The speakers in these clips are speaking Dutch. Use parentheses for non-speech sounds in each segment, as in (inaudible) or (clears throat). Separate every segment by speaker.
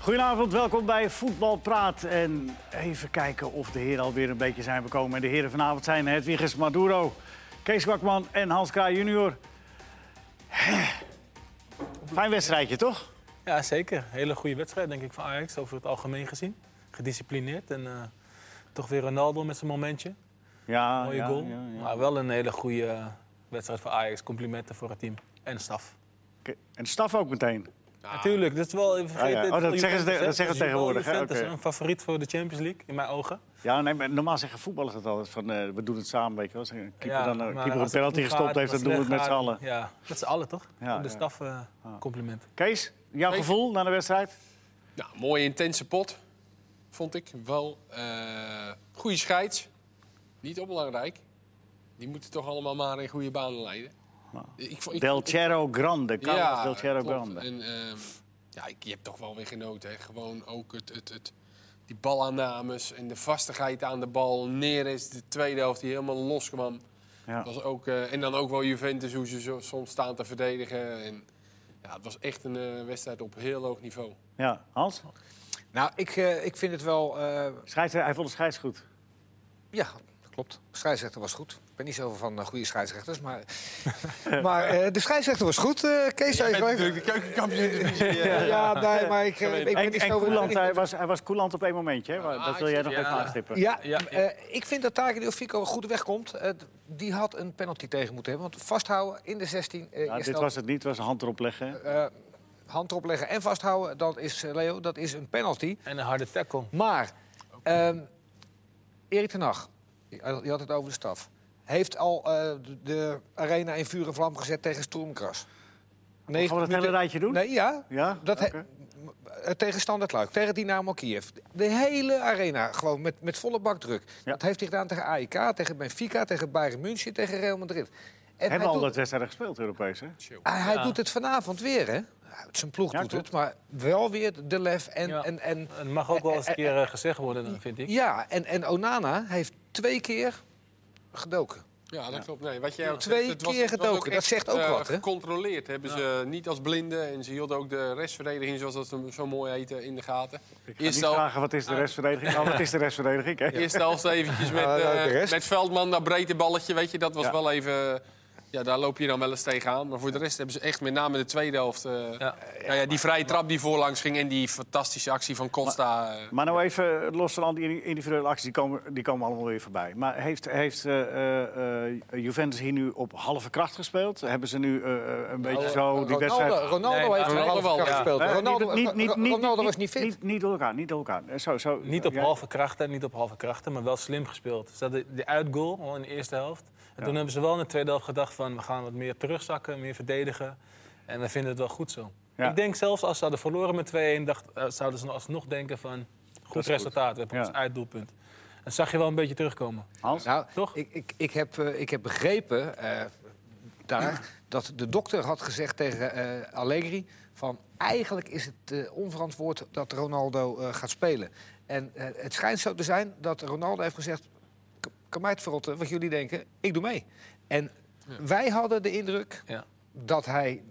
Speaker 1: Goedenavond, welkom bij Voetbal Praat. En even kijken of de heren alweer een beetje zijn bekomen. En de heren vanavond zijn Hedwiges Maduro, Kees Kwakman en Hans Kraaij junior. Fijn wedstrijdje, toch?
Speaker 2: Ja, zeker. Hele goede wedstrijd, denk ik, van Ajax over het algemeen gezien. Gedisciplineerd en eh, toch weer Ronaldo met zijn momentje.
Speaker 1: Ja,
Speaker 2: Mooie
Speaker 1: Ah, ja,
Speaker 2: goal.
Speaker 1: ja, ja.
Speaker 2: Maar wel een hele goede eh, wedstrijd voor Ajax. Complimenten voor het team en de staf.
Speaker 1: Oké, En de staf ook meteen.
Speaker 2: Natuurlijk, dat is wel even vergeten.
Speaker 1: Oh, ja. Oh,
Speaker 2: het is
Speaker 1: dat
Speaker 2: wel
Speaker 1: zeggen ze-
Speaker 2: Juventus,
Speaker 1: dat
Speaker 2: hè.
Speaker 1: zeggen ze
Speaker 2: Het is wel
Speaker 1: tegenwoordig, hè?
Speaker 2: Juventus,
Speaker 1: Oké.
Speaker 2: hè. een favoriet voor de Champions League, in mijn ogen.
Speaker 1: Ja, nee, maar normaal zeggen voetballers het altijd van eh, we doen het samen, weet je wel. Als een keeper,
Speaker 2: Ja,
Speaker 1: dan,
Speaker 2: maar
Speaker 1: een keeper een
Speaker 2: als het
Speaker 1: penalty
Speaker 2: goed
Speaker 1: gestopt
Speaker 2: gaat,
Speaker 1: heeft, dan
Speaker 2: als
Speaker 1: doen we het met
Speaker 2: slecht
Speaker 1: z'n
Speaker 2: gaat,
Speaker 1: allen.
Speaker 2: Ja, met z'n allen toch?
Speaker 1: Ja,
Speaker 2: Voor de
Speaker 1: ja. Ah.
Speaker 2: staf eh, compliment.
Speaker 1: Kees, jouw
Speaker 3: Zeker.
Speaker 1: gevoel na de wedstrijd?
Speaker 3: Nou, mooie intense pot, vond ik. Wel eh goede scheids. Niet onbelangrijk. Die moeten toch allemaal maar in goede banen leiden. Ik, vo- ik-
Speaker 1: Nou, Del Cerro Grande, Carlos Del Cerro
Speaker 3: klopt.
Speaker 1: Grande.
Speaker 3: En, ehm, ja, ik, je hebt toch wel weer genoten. Hè. Gewoon ook het, het, het, die balaannames en de vastigheid aan de bal. Neres, de tweede helft, die helemaal los kwam.
Speaker 1: Ja.
Speaker 3: Het was ook, eh, en dan ook wel Juventus, hoe ze zo, soms staan te verdedigen. En, ja, het was echt een eh, wedstrijd op heel hoog niveau.
Speaker 1: Ja, Hans?
Speaker 4: Nou, ik, eh, ik vind het wel. eh,
Speaker 1: Scheids, hij vond de scheids goed.
Speaker 4: ja, dat klopt. De scheidsrechter was goed. Ik ben niet zo van eh, goede scheidsrechters, maar. maar eh, de scheidsrechter was goed, eh Kees. zou je gewoon even-
Speaker 3: de keukenkampioen.
Speaker 4: (laughs) ja, nee, maar ik, eh, ik ben
Speaker 1: En,
Speaker 4: niet
Speaker 1: en
Speaker 4: zo
Speaker 1: coulant, hij was, hij was coulant op één momentje. Hè? Maar dat wil jij nog
Speaker 2: ja.
Speaker 1: even aanstippen.
Speaker 4: Ah, Ja,
Speaker 2: Ja, ja.
Speaker 4: eh, ik vind dat Tarek de Fico goed wegkomt. Eh, d- die had een penalty tegen moeten hebben. Want vasthouden in de 16, eh,
Speaker 1: Ja,
Speaker 4: je
Speaker 1: Nou, dit
Speaker 4: stelt
Speaker 1: was het niet, het was een hand erop leggen. hè?
Speaker 4: eh, hand erop leggen en vasthouden. Dat is, eh, Leo, dat is een penalty.
Speaker 2: En een harde tackle.
Speaker 4: Maar ehm Erik ten Hag, je had je had het over de staf... heeft al eh, de, de arena in vuur en vlam gezet tegen Stormkras. Nee,
Speaker 1: Gaan we dat hele rijtje doen?
Speaker 4: Nee, ja.
Speaker 1: Ja?
Speaker 4: Dat he-
Speaker 1: Oké.
Speaker 4: eh, tegen Standard Luik, tegen Dynamo Kiev. De hele arena, gewoon met, met volle bakdruk.
Speaker 1: Ja.
Speaker 4: Dat heeft hij gedaan tegen AIK, tegen Benfica, tegen Bayern München, tegen Real Madrid. En
Speaker 1: Hebben we al
Speaker 4: doet-
Speaker 1: dat wedstrijden gespeeld, Europees? Hè?
Speaker 4: hij, hij doet het vanavand weer, hè? Zijn ploeg
Speaker 1: Ja,
Speaker 4: doet
Speaker 1: klopt.
Speaker 4: het, maar wel weer de lef en,
Speaker 2: Ja.
Speaker 4: en, en
Speaker 2: Het mag ook wel eens een keer eh, gezegd worden, dan, vind ik.
Speaker 4: ja, en, en Onana heeft twee keer gedoken.
Speaker 3: Ja, dat klopt. Nee, wat jij ook
Speaker 4: Twee
Speaker 3: zegt, het was-
Speaker 4: keer
Speaker 3: het was ook
Speaker 4: gedoken, dat
Speaker 3: echt,
Speaker 4: zegt ook
Speaker 3: eh,
Speaker 4: wat, hè?
Speaker 3: Gecontroleerd hebben ze niet als blinden. En ze hielden ook de restverdediging, zoals dat zo mooi heet, eh, in de gaten.
Speaker 1: Ik ga
Speaker 3: Eerste
Speaker 1: niet
Speaker 3: helft,
Speaker 1: vragen wat
Speaker 4: Ah.
Speaker 1: is de restverdediging. Oh, wat is de restverdediging?
Speaker 4: (laughs)
Speaker 1: Hè?
Speaker 3: eerste helft eventjes met,
Speaker 4: Ja, nou,
Speaker 3: eh,
Speaker 4: de rest.
Speaker 3: met Veldman, dat breedte balletje. Weet je, dat was
Speaker 1: Ja.
Speaker 3: wel even... eh, Ja, daar loop je dan wel eens tegenaan. Maar voor de rest hebben ze echt, met name de tweede helft... eh,
Speaker 2: Ja.
Speaker 3: nou ja, die vrije trap die voorlangs ging en die fantastische actie van Costa. eh,
Speaker 1: Maar nou even, los van al die individuele acties, die komen, die komen allemaal weer voorbij. Maar heeft, heeft eh, eh, eh, Juventus hier nu op halve kracht gespeeld? Hebben ze nu eh, eh, een beetje zo die
Speaker 4: Nou, Ronaldo,
Speaker 1: wedstrijd...
Speaker 4: Ronaldo
Speaker 2: Nee,
Speaker 4: heeft een
Speaker 3: Ronaldo
Speaker 4: halve
Speaker 3: wel,
Speaker 4: kracht
Speaker 3: ja.
Speaker 4: gespeeld.
Speaker 1: Hè?
Speaker 4: Ronaldo, Ronaldo was niet fit.
Speaker 1: Niet, niet door elkaar, niet door elkaar. Eh, Zo, zo,
Speaker 2: Niet op
Speaker 1: Ja,
Speaker 2: halve krachten, niet op halve krachten, maar wel slim gespeeld. Ze hadden die uitgoal al in de eerste helft. En toen hebben ze wel in de tweede helft gedacht van... we gaan wat meer terugzakken, meer verdedigen. En we vinden het wel goed zo.
Speaker 1: Ja.
Speaker 2: Ik denk zelfs als ze hadden verloren met 2-1... dacht- eh, zouden ze alsnog denken van... goed resultaat, we hebben
Speaker 1: Ja.
Speaker 2: ons uitdoelpunt. En zag je wel een beetje terugkomen.
Speaker 1: Hans?
Speaker 4: Nou,
Speaker 2: Toch?
Speaker 4: Ik, ik, ik, heb, eh, ik heb begrepen eh, daar dat de dokter had gezegd tegen eh, Allegri... van eigenlijk is het eh, onverantwoord dat Ronaldo eh, gaat spelen. En eh, het schijnt zo te zijn dat Ronaldo heeft gezegd... "K- kan mij het verrotten wat jullie denken, ik doe mee. En wij hadden de indruk
Speaker 2: Ja.
Speaker 4: dat hij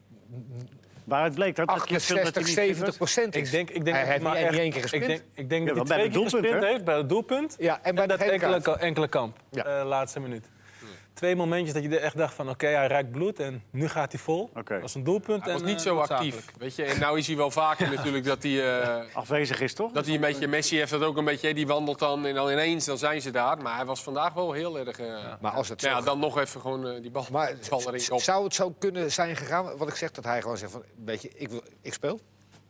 Speaker 1: Waaruit bleek dat... dat je vindt dat hij
Speaker 4: 68,
Speaker 1: niet fit was?
Speaker 4: 70 procent is.
Speaker 2: Ik denk, ik denk
Speaker 4: hij
Speaker 2: dat
Speaker 4: heeft
Speaker 2: maar
Speaker 4: niet
Speaker 2: echt-
Speaker 4: één keer gespeeld.
Speaker 2: Ik denk, ik denk
Speaker 1: Ja,
Speaker 2: dat
Speaker 1: wel bij
Speaker 2: hij twee
Speaker 1: het
Speaker 2: keer
Speaker 1: doelpunt,
Speaker 2: gesprint
Speaker 1: hè?
Speaker 2: heeft bij het doelpunt.
Speaker 4: Ja, en bij de
Speaker 2: dat
Speaker 4: gele
Speaker 2: enkele,
Speaker 4: kaart.
Speaker 2: ka- enkele kamp,
Speaker 4: Ja.
Speaker 2: eh, laatste minuut. Twee momentjes dat je er echt dacht van... oké, hij raakt bloed en nu gaat hij vol.
Speaker 1: Oké.
Speaker 2: Dat was een doelpunt.
Speaker 3: Hij was
Speaker 2: en,
Speaker 3: niet
Speaker 2: eh,
Speaker 3: zo
Speaker 2: noodzakelijk.
Speaker 3: actief. Weet je, en nou is hij wel
Speaker 4: (laughs)
Speaker 3: vaker natuurlijk dat hij... eh,
Speaker 1: Afwezig is, toch?
Speaker 3: Dat hij een beetje, Messi heeft dat ook een beetje, hè, die wandelt dan en dan ineens dan zijn ze daar. Maar hij was vandaag wel heel erg. eh, nou
Speaker 4: Maar als het zo
Speaker 3: ja, dan nog even gewoon eh, die bal,
Speaker 4: Maar
Speaker 3: bal erin
Speaker 4: z-
Speaker 3: op.
Speaker 4: zou het zo kunnen zijn gegaan? Wat ik zeg, dat hij gewoon zegt van, weet je, ik, wil, ik speel.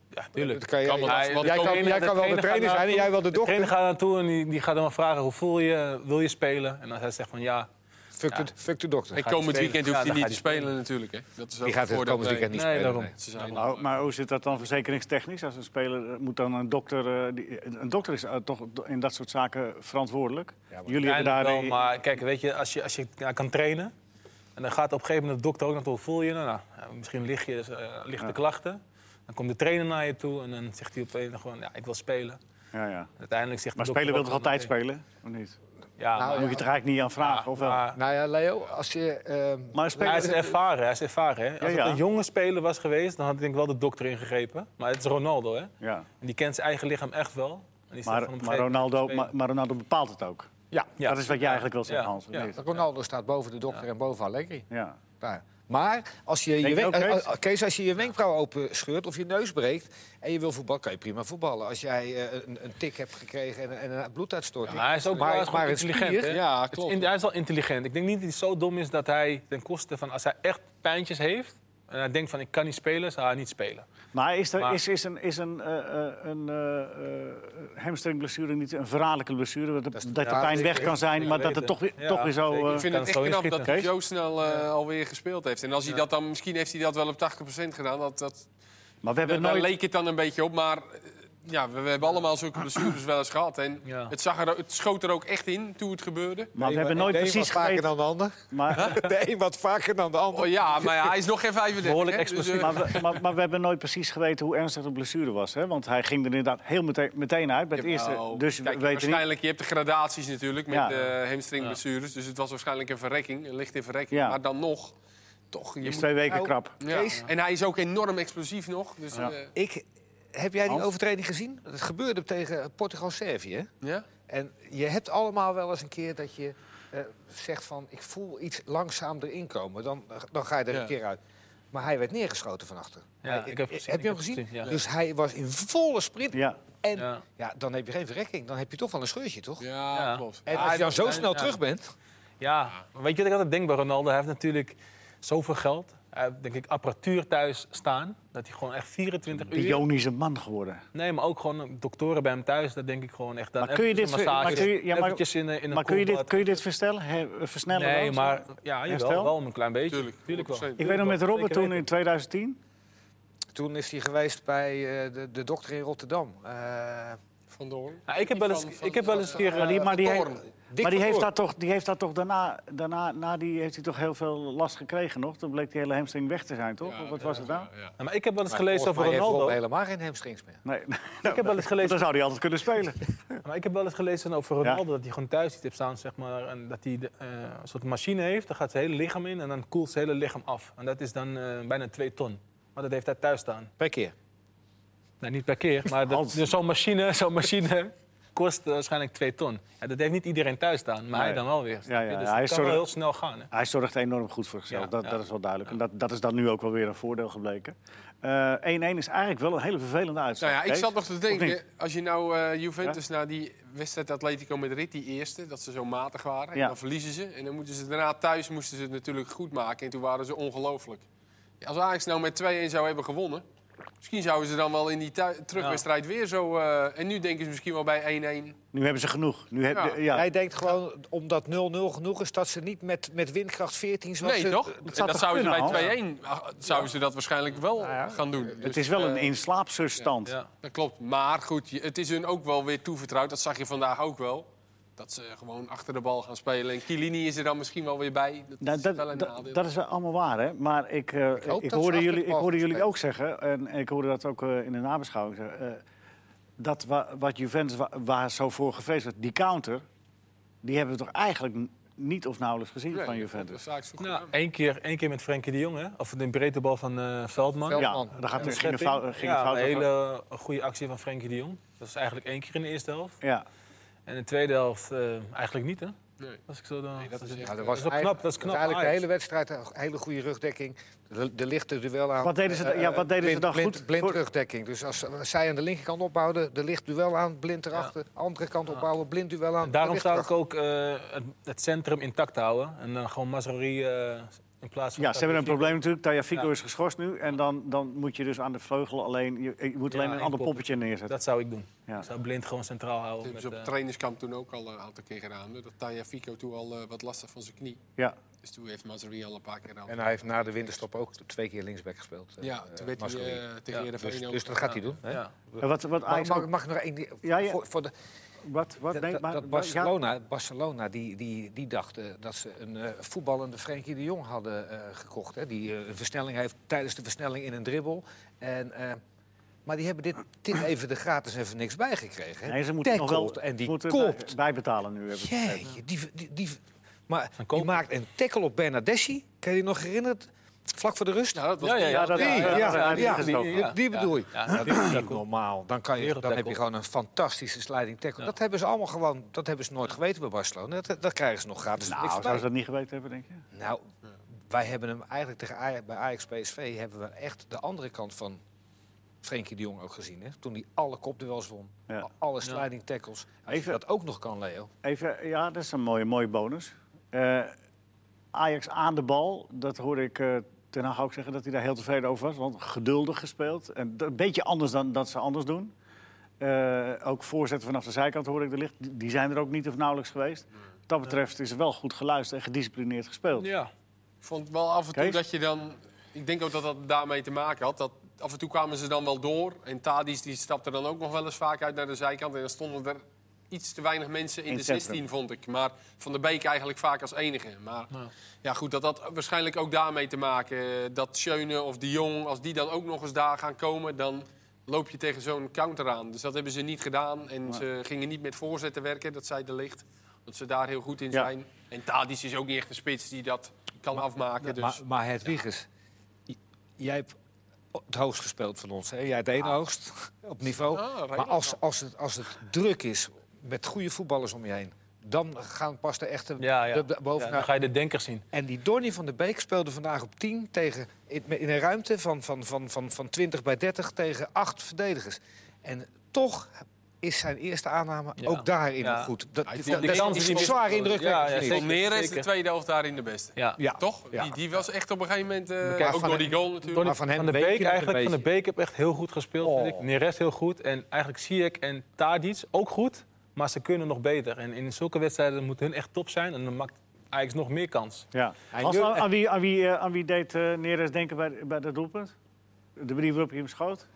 Speaker 2: Ja, tuurlijk.
Speaker 4: Dat kan je,
Speaker 3: Kan wel.
Speaker 4: jij-
Speaker 3: Hij-
Speaker 4: jij
Speaker 3: de
Speaker 4: kan,
Speaker 3: trainer-
Speaker 4: jij kan wel de trainer zijn en jij wel de
Speaker 2: De trainer
Speaker 4: dokter.
Speaker 2: gaat naartoe en die, die gaat hem vragen hoe voel je, wil je spelen? En als hij zegt van ja,
Speaker 4: Fuck, de, fuck de dokter.
Speaker 3: En
Speaker 2: hij
Speaker 3: komend
Speaker 2: spelen.
Speaker 3: weekend hoeft
Speaker 2: Ja,
Speaker 3: hij
Speaker 2: dan
Speaker 3: niet
Speaker 2: gaat
Speaker 3: te
Speaker 2: hij
Speaker 3: spelen natuurlijk. Hè. Dat is ook
Speaker 4: Die gaat het
Speaker 3: voordeel
Speaker 4: komend weekend
Speaker 3: bij-
Speaker 2: Nee,
Speaker 4: niet spelen.
Speaker 2: daarom.
Speaker 4: nee.
Speaker 3: Ze zijn
Speaker 1: Maar,
Speaker 3: al,
Speaker 1: hoe- Nou, maar hoe zit dat dan verzekeringstechnisch? Als een speler eh, moet dan een dokter. eh, die- een dokter is eh, toch in dat soort zaken verantwoordelijk. Jullie hebben daar.
Speaker 2: uiteindelijk wel. Maar kijk, weet je, als je, als je ja, kan trainen... en dan gaat op een gegeven moment de dokter ook naartoe, hoe voel je? je? Nou, nou, misschien lig je, eh, lichte klachten. Dan komt de trainer naar je toe en dan zegt hij op een gewoon... ja, ik wil spelen.
Speaker 1: ja, ja.
Speaker 2: Uiteindelijk zegt de
Speaker 1: Maar
Speaker 2: dokter
Speaker 1: speler wil
Speaker 2: ook
Speaker 1: toch altijd
Speaker 2: van,
Speaker 1: spelen? Of niet?
Speaker 2: Ja,
Speaker 4: Nou,
Speaker 1: Daar
Speaker 2: maar,
Speaker 1: moet je het er eigenlijk niet aan vragen, of wel?
Speaker 2: Ah, maar
Speaker 4: Nou ja, Leo, als je... ehm,
Speaker 1: Maar
Speaker 2: hij is
Speaker 1: spelers,
Speaker 2: ervaren. Hij is ervaren hè? Als
Speaker 1: Ja, ja.
Speaker 2: het een jonge speler was geweest, dan had ik denk ik wel de dokter ingegrepen. Maar het is Ronaldo, hè?
Speaker 1: ja.
Speaker 2: En die kent zijn eigen lichaam echt wel. En die staat
Speaker 1: maar,
Speaker 2: van op een
Speaker 1: maar,
Speaker 2: gegeven moment te
Speaker 1: Ronaldo,
Speaker 2: spelen.
Speaker 1: maar, maar Ronaldo bepaalt het ook.
Speaker 4: ja,
Speaker 2: Ja.
Speaker 1: Dat is wat jij eigenlijk wil zeggen,
Speaker 2: Ja,
Speaker 1: Hans.
Speaker 2: ja.
Speaker 1: Ja.
Speaker 4: Ronaldo staat boven de dokter en boven Allegri.
Speaker 1: Ja.
Speaker 4: Nou, maar als je je,
Speaker 1: je
Speaker 4: wen-
Speaker 1: ook, Kees?
Speaker 4: eh, eh, Kees, als je je wenkbrauw open scheurt of je neus breekt en je wil voetballen, kan je prima voetballen. Als jij eh, een, een tik hebt gekregen en, en een bloeduitstorting.
Speaker 2: Ja, hij is ook
Speaker 4: Maar-
Speaker 2: wel
Speaker 4: maar
Speaker 2: maar
Speaker 4: het
Speaker 2: intelligent.
Speaker 4: spier-
Speaker 2: hè?
Speaker 3: Ja,
Speaker 2: Het is
Speaker 3: klopt.
Speaker 2: in- hij is wel intelligent. Ik denk niet dat hij zo dom is dat hij ten koste van als hij echt pijntjes heeft en hij denkt van ik kan niet spelen, zou hij niet spelen.
Speaker 1: Maar is, er,
Speaker 2: Maar-
Speaker 1: is, is een, is een, eh, eh, een eh, eh, hamstringblessure niet een verraderlijke blessure? Dat, dat de
Speaker 4: ja,
Speaker 1: pijn weg
Speaker 4: ik-
Speaker 1: kan zijn,
Speaker 2: ik
Speaker 1: maar dat het
Speaker 2: weet
Speaker 1: toch,
Speaker 2: het.
Speaker 1: weer-
Speaker 2: Ja,
Speaker 1: toch weer zo...
Speaker 2: zeker.
Speaker 1: eh,
Speaker 3: Ik vind
Speaker 2: Kan
Speaker 3: het
Speaker 2: het
Speaker 3: echt
Speaker 2: zo
Speaker 3: knap
Speaker 2: inschieten.
Speaker 3: dat hij
Speaker 1: Kees?
Speaker 3: zo snel eh, alweer gespeeld heeft. En als hij dat dan, misschien heeft hij dat wel op 80% gedaan. Dat, dat,
Speaker 1: maar we hebben
Speaker 3: daar
Speaker 1: nooit...
Speaker 3: leek het dan een beetje op. Maar eh, ja, we, we hebben allemaal zulke blessures wel eens gehad. En
Speaker 2: Ja.
Speaker 3: het, zag er, het schoot er ook echt in toen het gebeurde.
Speaker 1: Maar we
Speaker 4: De
Speaker 1: hebben
Speaker 4: een
Speaker 1: nooit
Speaker 4: wat
Speaker 1: precies
Speaker 4: vaker
Speaker 1: geweten...
Speaker 4: dan de ander. (laughs)
Speaker 3: (laughs)
Speaker 1: Maar,
Speaker 4: De een wat vaker dan de ander.
Speaker 3: Oh ja, maar ja, hij is nog geen 35.
Speaker 2: Behoorlijk
Speaker 3: hè? Dus, eh,
Speaker 2: explosief.
Speaker 1: maar, we, maar, maar we hebben nooit precies geweten hoe ernstig de blessure was. Hè? Want hij ging er inderdaad heel meteen, meteen uit bij het eerste.
Speaker 3: Nou,
Speaker 1: Dus
Speaker 3: kijk,
Speaker 1: we weten niet...
Speaker 3: waarschijnlijk, je hebt de gradaties natuurlijk met
Speaker 1: Ja.
Speaker 3: de hamstringblessures. Dus het was waarschijnlijk een verrekking, een lichte verrekking.
Speaker 1: Ja.
Speaker 3: Maar dan nog, toch. Je
Speaker 1: Is
Speaker 3: moet-
Speaker 1: twee weken
Speaker 4: Nou,
Speaker 1: krap.
Speaker 3: ja.
Speaker 4: Kees?
Speaker 3: En hij is ook enorm explosief nog. Dus,
Speaker 1: Ja.
Speaker 3: eh,
Speaker 4: Ik, heb jij die
Speaker 1: Hans?
Speaker 4: overtreding gezien? Dat gebeurde tegen Portugal-Servië. hè?
Speaker 3: ja?
Speaker 4: En je hebt allemaal wel eens een keer dat je eh, zegt van... ik voel iets langzaam erin komen. Dan, dan ga je er
Speaker 3: Ja.
Speaker 4: een keer uit. Maar hij werd neergeschoten van achter.
Speaker 2: Ja,
Speaker 4: Hij- eh,
Speaker 2: ik heb gezien,
Speaker 4: je
Speaker 2: ik
Speaker 4: hem
Speaker 2: heb
Speaker 4: gezien?
Speaker 2: gezien, ja.
Speaker 4: Dus hij was in volle sprint.
Speaker 1: Ja.
Speaker 4: En ja.
Speaker 2: Ja.
Speaker 4: dan heb je geen verrekking. Dan heb je toch wel een scheurtje, toch?
Speaker 3: Ja,
Speaker 2: Ja.
Speaker 3: klopt.
Speaker 4: En
Speaker 3: Ja,
Speaker 4: als je
Speaker 3: hij-
Speaker 4: dan zo
Speaker 2: hij-
Speaker 4: snel
Speaker 2: ja.
Speaker 4: terug bent...
Speaker 2: Ja, maar weet je wat ik altijd denk bij Ronaldo? Hij heeft natuurlijk zoveel geld. Hij heeft denk ik apparatuur thuis staan. Dat hij gewoon echt 24
Speaker 1: De
Speaker 2: uur...
Speaker 1: Ionische man geworden.
Speaker 2: Nee, maar ook gewoon doktoren bij hem thuis. Dat denk ik gewoon echt. Dan
Speaker 1: Maar kun je
Speaker 2: eventjes
Speaker 1: dit-
Speaker 2: een massage,
Speaker 1: maar kun je- ja, maar-
Speaker 2: eventjes in, een- in een
Speaker 1: Maar kun je dit,
Speaker 2: koelbad.
Speaker 1: kun je dit verstellen? He- versnellen?
Speaker 2: Nee,
Speaker 1: dan?
Speaker 2: maar ja, jawel,
Speaker 1: Herstel?
Speaker 2: wel een klein beetje.
Speaker 3: Tuurlijk,
Speaker 2: Tuurlijk wel.
Speaker 3: 100%.
Speaker 1: Ik weet nog met Robert
Speaker 2: Zeker
Speaker 1: toen
Speaker 2: weten.
Speaker 1: in 2010.
Speaker 4: Toen is hij geweest bij eh, de, de dokter in Rotterdam. Eh,
Speaker 3: Van Doorn.
Speaker 2: Ja, ik heb wel eens-
Speaker 3: Van- van-
Speaker 2: ik heb wel eens een keer,
Speaker 3: van-
Speaker 1: Maar die, maar die,
Speaker 3: Van
Speaker 1: heeft,
Speaker 3: Doorn.
Speaker 4: Dick
Speaker 1: maar die
Speaker 4: van
Speaker 1: heeft
Speaker 4: Doorn.
Speaker 1: daar toch, die heeft daar toch daarna, daarna na die, heeft hij toch heel veel last gekregen nog? Toen bleek die hele hamstring weg te zijn, toch?
Speaker 3: Ja,
Speaker 1: of wat was het nou?
Speaker 3: Ja, ja.
Speaker 2: Ja, maar ik heb wel eens
Speaker 4: maar
Speaker 2: gelezen
Speaker 4: volgens
Speaker 2: over
Speaker 4: mij heeft Rob
Speaker 2: Ronaldo.
Speaker 4: helemaal geen hamstrings meer.
Speaker 1: Nee,
Speaker 2: Ik heb wel eens gelezen
Speaker 1: (laughs) dan zou hij altijd kunnen spelen.
Speaker 2: Maar ik heb wel eens gelezen over Ronaldo dat hij gewoon thuis iets heeft staan, zeg maar, en dat hij de, eh, een soort machine heeft. Daar gaat zijn hele lichaam in en dan koelt zijn hele lichaam af. En dat is dan eh, bijna twee ton. Maar dat heeft hij thuis staan.
Speaker 4: Per keer.
Speaker 2: Nou, niet per keer, maar dat-
Speaker 1: Hans.
Speaker 2: dus zo'n machine, zo'n machine kost eh, waarschijnlijk twee ton. Ja, dat heeft niet iedereen thuis staan, maar
Speaker 1: Nee.
Speaker 2: hij dan wel weer.
Speaker 1: Ja, ja,
Speaker 2: Dus
Speaker 1: hij
Speaker 2: het kan
Speaker 1: is zo-
Speaker 2: wel heel snel gaan. Hè.
Speaker 1: Hij zorgt enorm goed voor zichzelf,
Speaker 2: Ja,
Speaker 1: dat,
Speaker 2: ja.
Speaker 1: dat is wel duidelijk. En dat, dat is dan nu ook wel weer een voordeel gebleken. Eh, 1-1 is eigenlijk wel een hele vervelende uitslag.
Speaker 3: Nou ja, ik
Speaker 1: Kees.
Speaker 3: zat nog te
Speaker 1: niet?
Speaker 3: denken, als je nou eh, Juventus naar die wedstrijd Atletico Madrid, die eerste, dat ze zo matig waren,
Speaker 1: Ja.
Speaker 3: en dan verliezen ze. En dan moeten ze daarna thuis moesten ze het natuurlijk goed maken en toen waren ze ongelooflijk. Als Ajax nou met 2-1 zou hebben gewonnen, misschien zouden ze dan wel in die thui- terugwedstrijd weer zo... eh, en nu denken ze misschien wel bij 1-1.
Speaker 1: Nu hebben ze genoeg. Nu heb,
Speaker 3: Ja.
Speaker 1: ja.
Speaker 4: Hij denkt gewoon, omdat 0-0 genoeg is, dat ze niet met, met windkracht 14... Zoals
Speaker 3: Nee,
Speaker 4: ze-
Speaker 3: toch? En
Speaker 1: zou
Speaker 3: Dat,
Speaker 1: toch
Speaker 3: zouden ze
Speaker 1: kunnen, Nou
Speaker 3: bij 2-1 ah, zouden ze dat waarschijnlijk wel
Speaker 1: ja,
Speaker 3: gaan doen. Dus,
Speaker 1: het is wel een
Speaker 3: eh,
Speaker 1: inslaapzustand.
Speaker 2: Ja.
Speaker 3: Dat klopt. Maar goed, je- het is hun ook wel weer toevertrouwd. Dat zag je vandaag ook wel. Dat ze gewoon achter de bal gaan spelen. En Chiellini is er dan misschien wel weer bij. Dat
Speaker 1: Nou,
Speaker 3: is
Speaker 1: dat,
Speaker 3: wel een
Speaker 1: dat-
Speaker 3: nadeel.
Speaker 1: dat is wel allemaal waar, hè? Maar ik, eh, ik,
Speaker 4: hoop dat
Speaker 1: hoorde,
Speaker 4: ze achter
Speaker 1: jullie,
Speaker 4: de
Speaker 1: ik
Speaker 4: bal
Speaker 1: hoorde
Speaker 4: gaan
Speaker 1: jullie ook zeggen, en ik hoorde dat ook eh, in de nabeschouwing zeggen... eh, dat wa- wat Juventus wa- waar zo voor gevreesd werd, die counter... die hebben we toch eigenlijk n- niet of nauwelijks gezien
Speaker 3: Nee,
Speaker 1: van
Speaker 3: dat
Speaker 1: Juventus?
Speaker 3: is eigenlijk zo goed.
Speaker 2: Nou, één keer, één keer met Frenkie de Jong, hè? of de brede bal van eh, Veldman.
Speaker 4: Veldman.
Speaker 1: Ja, daar gaat, ging een fout, ging een
Speaker 2: ja,
Speaker 1: fout
Speaker 2: een
Speaker 1: over.
Speaker 2: hele eh, goede actie van Frenkie de Jong. Dat is eigenlijk één keer in de eerste helft.
Speaker 1: Ja,
Speaker 2: En in de tweede helft eh, eigenlijk niet, hè?
Speaker 3: Nee.
Speaker 2: Als ik zo dan...
Speaker 3: Nee, dat is echt,
Speaker 4: Ja, dat
Speaker 3: eh,
Speaker 4: was
Speaker 2: knap,
Speaker 4: eigenlijk-
Speaker 2: dat is knap,
Speaker 4: Eigenlijk de
Speaker 2: Ajax.
Speaker 4: hele wedstrijd een hele goede rugdekking. De, de lichte duel aan.
Speaker 1: Wat deden ze-
Speaker 4: eh, eh,
Speaker 1: ja, wat deden ze
Speaker 4: blind-
Speaker 1: dan
Speaker 4: blind,
Speaker 1: goed?
Speaker 4: Blind
Speaker 1: Voor-
Speaker 4: rugdekking. Dus als, ze- als zij aan de linkerkant opbouwden, de licht duel aan, blind erachter. Andere kant opbouwen, blind duel aan.
Speaker 2: En daarom
Speaker 4: de
Speaker 2: zou ik
Speaker 4: licht
Speaker 2: ook eh, het, het centrum intact houden. En dan gewoon Mazraoui eh, in plaats van...
Speaker 1: ja ze hebben een probleem natuurlijk. Tajafico
Speaker 2: Ja.
Speaker 1: is geschorst nu. En dan, dan moet je dus aan de vleugel alleen... Je, je moet
Speaker 2: Ja,
Speaker 1: alleen een
Speaker 2: één
Speaker 1: ander
Speaker 2: poppetje.
Speaker 1: poppetje neerzetten.
Speaker 2: Dat zou ik doen.
Speaker 1: Ja.
Speaker 2: Ik zou blind gewoon centraal
Speaker 3: Dat
Speaker 2: houden.
Speaker 3: hebben
Speaker 4: Dus
Speaker 2: Met,
Speaker 3: ze op
Speaker 2: eh,
Speaker 3: het trainingskamp toen ook al een aantal keer gedaan. hè. Dat Taya Fico toen al eh, wat last had van zijn knie.
Speaker 1: Ja.
Speaker 3: Dus toen heeft Mazraoui al een paar keer gedaan.
Speaker 4: En hij heeft na de winterstop ook twee keer linksback gespeeld. eh,
Speaker 3: ja, toen werd hij
Speaker 4: Mascheroni.
Speaker 3: eh, tegen
Speaker 2: Ja,
Speaker 3: Heerenveen
Speaker 4: dus,
Speaker 3: ook.
Speaker 4: dus dat gaat hij doen. Hè?
Speaker 2: ja.
Speaker 1: En Wat, wat,
Speaker 4: Mag,
Speaker 1: Ajax
Speaker 4: mag,
Speaker 1: ook-
Speaker 4: mag ik nog één ding?
Speaker 1: Ja, ja.
Speaker 4: Voor, voor de,
Speaker 1: wat, wat, nee,
Speaker 4: dat,
Speaker 1: maar-
Speaker 4: dat
Speaker 1: ja.
Speaker 4: Barcelona, Barcelona die, die, die dacht eh, dat ze een eh, voetballende Frenkie de Jong hadden eh, gekocht. Hè, die eh, een versnelling heeft tijdens de versnelling in een dribbel. En eh, Maar die hebben dit,
Speaker 1: (clears throat)
Speaker 4: dit even de gratis even niks bijgekregen. hè?
Speaker 1: Nee, ze moeten nog wel
Speaker 4: Tackled en die
Speaker 1: moeten
Speaker 4: kopt.
Speaker 1: bij- bijbetalen nu. Hebben.
Speaker 4: Jeetje, die, die, die, maar
Speaker 2: Een
Speaker 4: die
Speaker 2: koper.
Speaker 4: maakt een tackle op Bernadeschi. Kan je je nog herinneren? Vlak voor de rust.
Speaker 3: Ja, dat was
Speaker 2: Ja, ja, ja,
Speaker 1: dat-
Speaker 4: die, ja,
Speaker 1: dat-
Speaker 4: ja,
Speaker 1: dat-
Speaker 4: ja,
Speaker 1: dat-
Speaker 4: die,
Speaker 2: ja.
Speaker 4: die bedoel ik.
Speaker 2: Ja,
Speaker 4: Dat
Speaker 2: die-
Speaker 4: is
Speaker 2: die-
Speaker 4: niet normaal. Dan, kan je, dan
Speaker 2: Wereldtackle.
Speaker 4: heb je gewoon een fantastische sliding tackle.
Speaker 2: Ja.
Speaker 4: Dat hebben ze allemaal gewoon, dat hebben ze nooit geweten bij Barcelona. Dat, dat krijgen ze nog gratis.
Speaker 1: Nou,
Speaker 4: niks
Speaker 1: zouden ze
Speaker 4: bij.
Speaker 1: dat niet geweten hebben, denk je?
Speaker 4: nou wij hebben hem eigenlijk tegen Aj- bij Ajax PSV hebben we echt de andere kant van Frenkie de Jong ook gezien. Hè? Toen hij alle kopduels won,
Speaker 1: Ja.
Speaker 4: a- alle sliding tackles. Als je
Speaker 1: Even-
Speaker 4: dat ook nog kan, Leo.
Speaker 1: Even, ja, dat is een mooie, mooie bonus. Eh, Ajax aan de bal, dat hoorde ik eh Ten Hag ook zeggen dat hij daar heel tevreden over was. Want geduldig gespeeld. En d- een beetje anders dan dat ze anders doen. Eh, ook voorzetten vanaf de zijkant hoorde ik er licht. Die die zijn er ook niet of nauwelijks geweest. Wat dat betreft is er wel goed geluisterd en gedisciplineerd gespeeld.
Speaker 2: Ja,
Speaker 3: Ik vond wel af en toe
Speaker 1: Kees?
Speaker 3: dat je dan... Ik denk ook dat dat daarmee te maken had. Dat af en toe kwamen ze dan wel door. En Tadis die stapte dan ook nog wel eens vaak uit naar de zijkant. En dan stonden er iets te weinig mensen in,
Speaker 1: In
Speaker 3: de
Speaker 1: het centrum.
Speaker 3: 16, vond ik. Maar Van der Beek eigenlijk vaak als enige. Maar ja,
Speaker 2: Ja.
Speaker 3: goed, dat had waarschijnlijk ook daarmee te maken. eh, Dat Schöne of de Jong, als die dan ook nog eens daar gaan komen... dan loop je tegen zo'n counter aan. Dus dat hebben ze niet gedaan. En ze gingen niet met voorzetten werken, dat zei de licht. Dat ze daar heel goed in
Speaker 1: Ja.
Speaker 3: zijn. En Tadis is ook niet echt een spits die dat kan afmaken. Dus.
Speaker 4: Maar, maar het Wiegers, j- jij hebt het hoogst gespeeld van ons. Hè? Jij het ene hoogst op niveau.
Speaker 3: Ah, redelijk
Speaker 4: maar als, als, het, als het druk is met goede voetballers om je heen, dan gaan pas de echte
Speaker 2: ja, ja.
Speaker 4: de- de-
Speaker 2: Ja,
Speaker 4: bovenaan.
Speaker 2: dan ga je de denker zien.
Speaker 4: En die Donny van der Beek speelde vandaag op 10 tegen, in in een ruimte van, van, van, van, van 20 bij 30 tegen 8 verdedigers. En toch is zijn eerste aanname
Speaker 2: Ja.
Speaker 4: ook daarin
Speaker 2: Ja.
Speaker 4: goed. Dat,
Speaker 3: Hij
Speaker 4: dat,
Speaker 3: vond die
Speaker 4: dat
Speaker 3: kansen die
Speaker 4: is
Speaker 3: mis-
Speaker 4: zwaar indrukwekkend.
Speaker 2: Ja, ja,
Speaker 4: vind ik.
Speaker 2: zeker.
Speaker 3: Neer is de tweede helft daarin de beste.
Speaker 2: Ja.
Speaker 4: Ja.
Speaker 3: Toch?
Speaker 4: Ja.
Speaker 3: Die, die was echt op een gegeven moment... eh,
Speaker 4: Kijk,
Speaker 3: ook door
Speaker 4: van hem-
Speaker 3: die goal natuurlijk.
Speaker 4: Maar van hem
Speaker 2: van de
Speaker 4: weet je
Speaker 2: Beek
Speaker 4: het
Speaker 2: eigenlijk.
Speaker 4: een
Speaker 2: Van de
Speaker 4: beetje.
Speaker 2: Beek heb echt heel goed gespeeld, vind
Speaker 4: Oh.
Speaker 2: ik. Neres heel goed. En eigenlijk Ziyech en Tadic ook goed. Maar ze kunnen nog beter. En in zulke wedstrijden moet hun echt top zijn. En dan maakt Ajax nog meer kans.
Speaker 1: Ja.
Speaker 4: Hij
Speaker 1: Hans,
Speaker 4: nu-
Speaker 1: aan, aan wie, aan, wie, eh, aan wie deed eh Neres denken bij, bij dat doelpunt? De manier waarop hij hem schoot?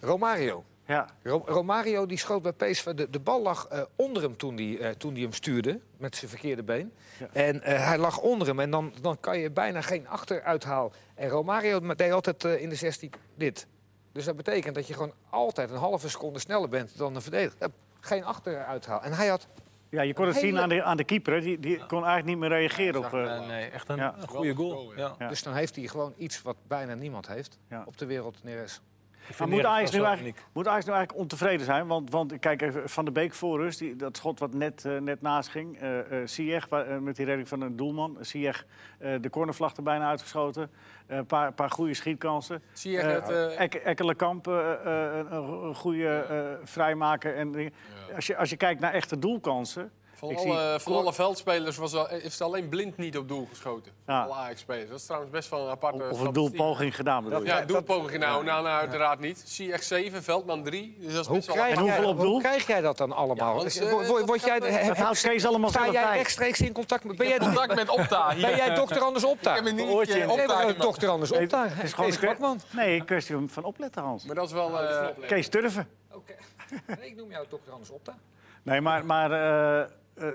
Speaker 4: Romario.
Speaker 1: Ja.
Speaker 4: Ro- Romario die schoot bij PSV. De, de bal lag eh, onder hem toen die, eh, toen die hem stuurde. Met zijn verkeerde been.
Speaker 1: Ja.
Speaker 4: En eh, hij lag onder hem. En dan, dan kan je bijna geen achteruithaal. En Romario ma- deed altijd eh, in de 16 dit. Dus dat betekent dat je gewoon altijd een halve seconde sneller bent dan de verdediger. Eh, geen achteruithaal. En hij had
Speaker 1: ja, je kon het
Speaker 4: Hele-
Speaker 1: zien aan de, aan de keeper. hè. Die, die kon eigenlijk niet meer reageren op... eh,
Speaker 2: Eh, nee, echt een
Speaker 1: Ja.
Speaker 2: een goede goal.
Speaker 3: Goal, ja.
Speaker 2: Ja.
Speaker 1: Ja.
Speaker 4: Dus dan heeft hij gewoon iets wat bijna niemand heeft
Speaker 1: Ja.
Speaker 4: op de wereld, Neres.
Speaker 2: Ik vind
Speaker 1: Maar moet
Speaker 2: Neres
Speaker 1: Ajax,
Speaker 2: wel
Speaker 1: nu
Speaker 2: zo
Speaker 1: eigenlijk, moet Ajax nu eigenlijk ontevreden zijn? Want, want kijk even, Van de Beek voorrust, die, dat schot wat net, eh, net naast ging. eh eh Ziyech, wa- eh, met die redding van een doelman. Ziyech, eh, de cornervlag er bijna uitgeschoten. Eh, Een paar, paar goede schietkansen.
Speaker 3: Ziyech
Speaker 1: Eh,
Speaker 3: het, eh,
Speaker 1: Ek- Ekkelenkamp, eh, eh, een- een goede eh vrijmaken. En, dingen. als, je, als je kijkt naar echte doelkansen...
Speaker 3: Van,
Speaker 1: ik
Speaker 3: alle,
Speaker 1: zie-
Speaker 3: van alle veldspelers was al, heeft alleen blind niet op doel geschoten.
Speaker 1: Ja.
Speaker 3: Alle Ajax-spelers. Dat is trouwens best wel een aparte
Speaker 1: Of een
Speaker 3: statistiek.
Speaker 1: doelpoging gedaan, bedoel je?
Speaker 3: Ja, doelpoging. Nou, nou, nou, uiteraard niet. Ziyech 7, Veldman 3. Dus dat is
Speaker 4: Hoe
Speaker 3: best wel
Speaker 4: krijg,
Speaker 1: En hoeveel
Speaker 4: jij,
Speaker 1: op
Speaker 4: hoe
Speaker 1: doel?
Speaker 4: krijg jij dat dan allemaal?
Speaker 3: Ja, want, eh,
Speaker 4: Word- word- word
Speaker 3: dat
Speaker 4: jij,
Speaker 3: gaat,
Speaker 4: heb-
Speaker 1: Dat houdt Kees allemaal
Speaker 4: sta
Speaker 1: zelf
Speaker 4: jij
Speaker 1: bij.
Speaker 4: rechtstreeks in contact met...
Speaker 3: (laughs)
Speaker 4: Ben jij,
Speaker 3: apart contact met Opta hier.
Speaker 4: ben jij dokter Anders Opta?
Speaker 3: Ik heb hem
Speaker 1: Een
Speaker 3: niet
Speaker 1: oortje in.
Speaker 3: eh,
Speaker 4: Nee,
Speaker 3: Opta
Speaker 4: maar, eh,
Speaker 3: gemaakt.
Speaker 4: dokter Anders
Speaker 1: Nee,
Speaker 4: Opta.
Speaker 1: het is gewoon
Speaker 4: Kees
Speaker 1: een kwestie-
Speaker 4: Kwakman.
Speaker 1: Nee, een kwestie van- van opletten, Hans.
Speaker 3: Maar dat is wel... eh,
Speaker 1: Kees Turven.
Speaker 4: Oké.
Speaker 3: (laughs)
Speaker 4: Nee, ik noem jou dokter Anders Opta.
Speaker 1: Nee, maar, maar eh, eh,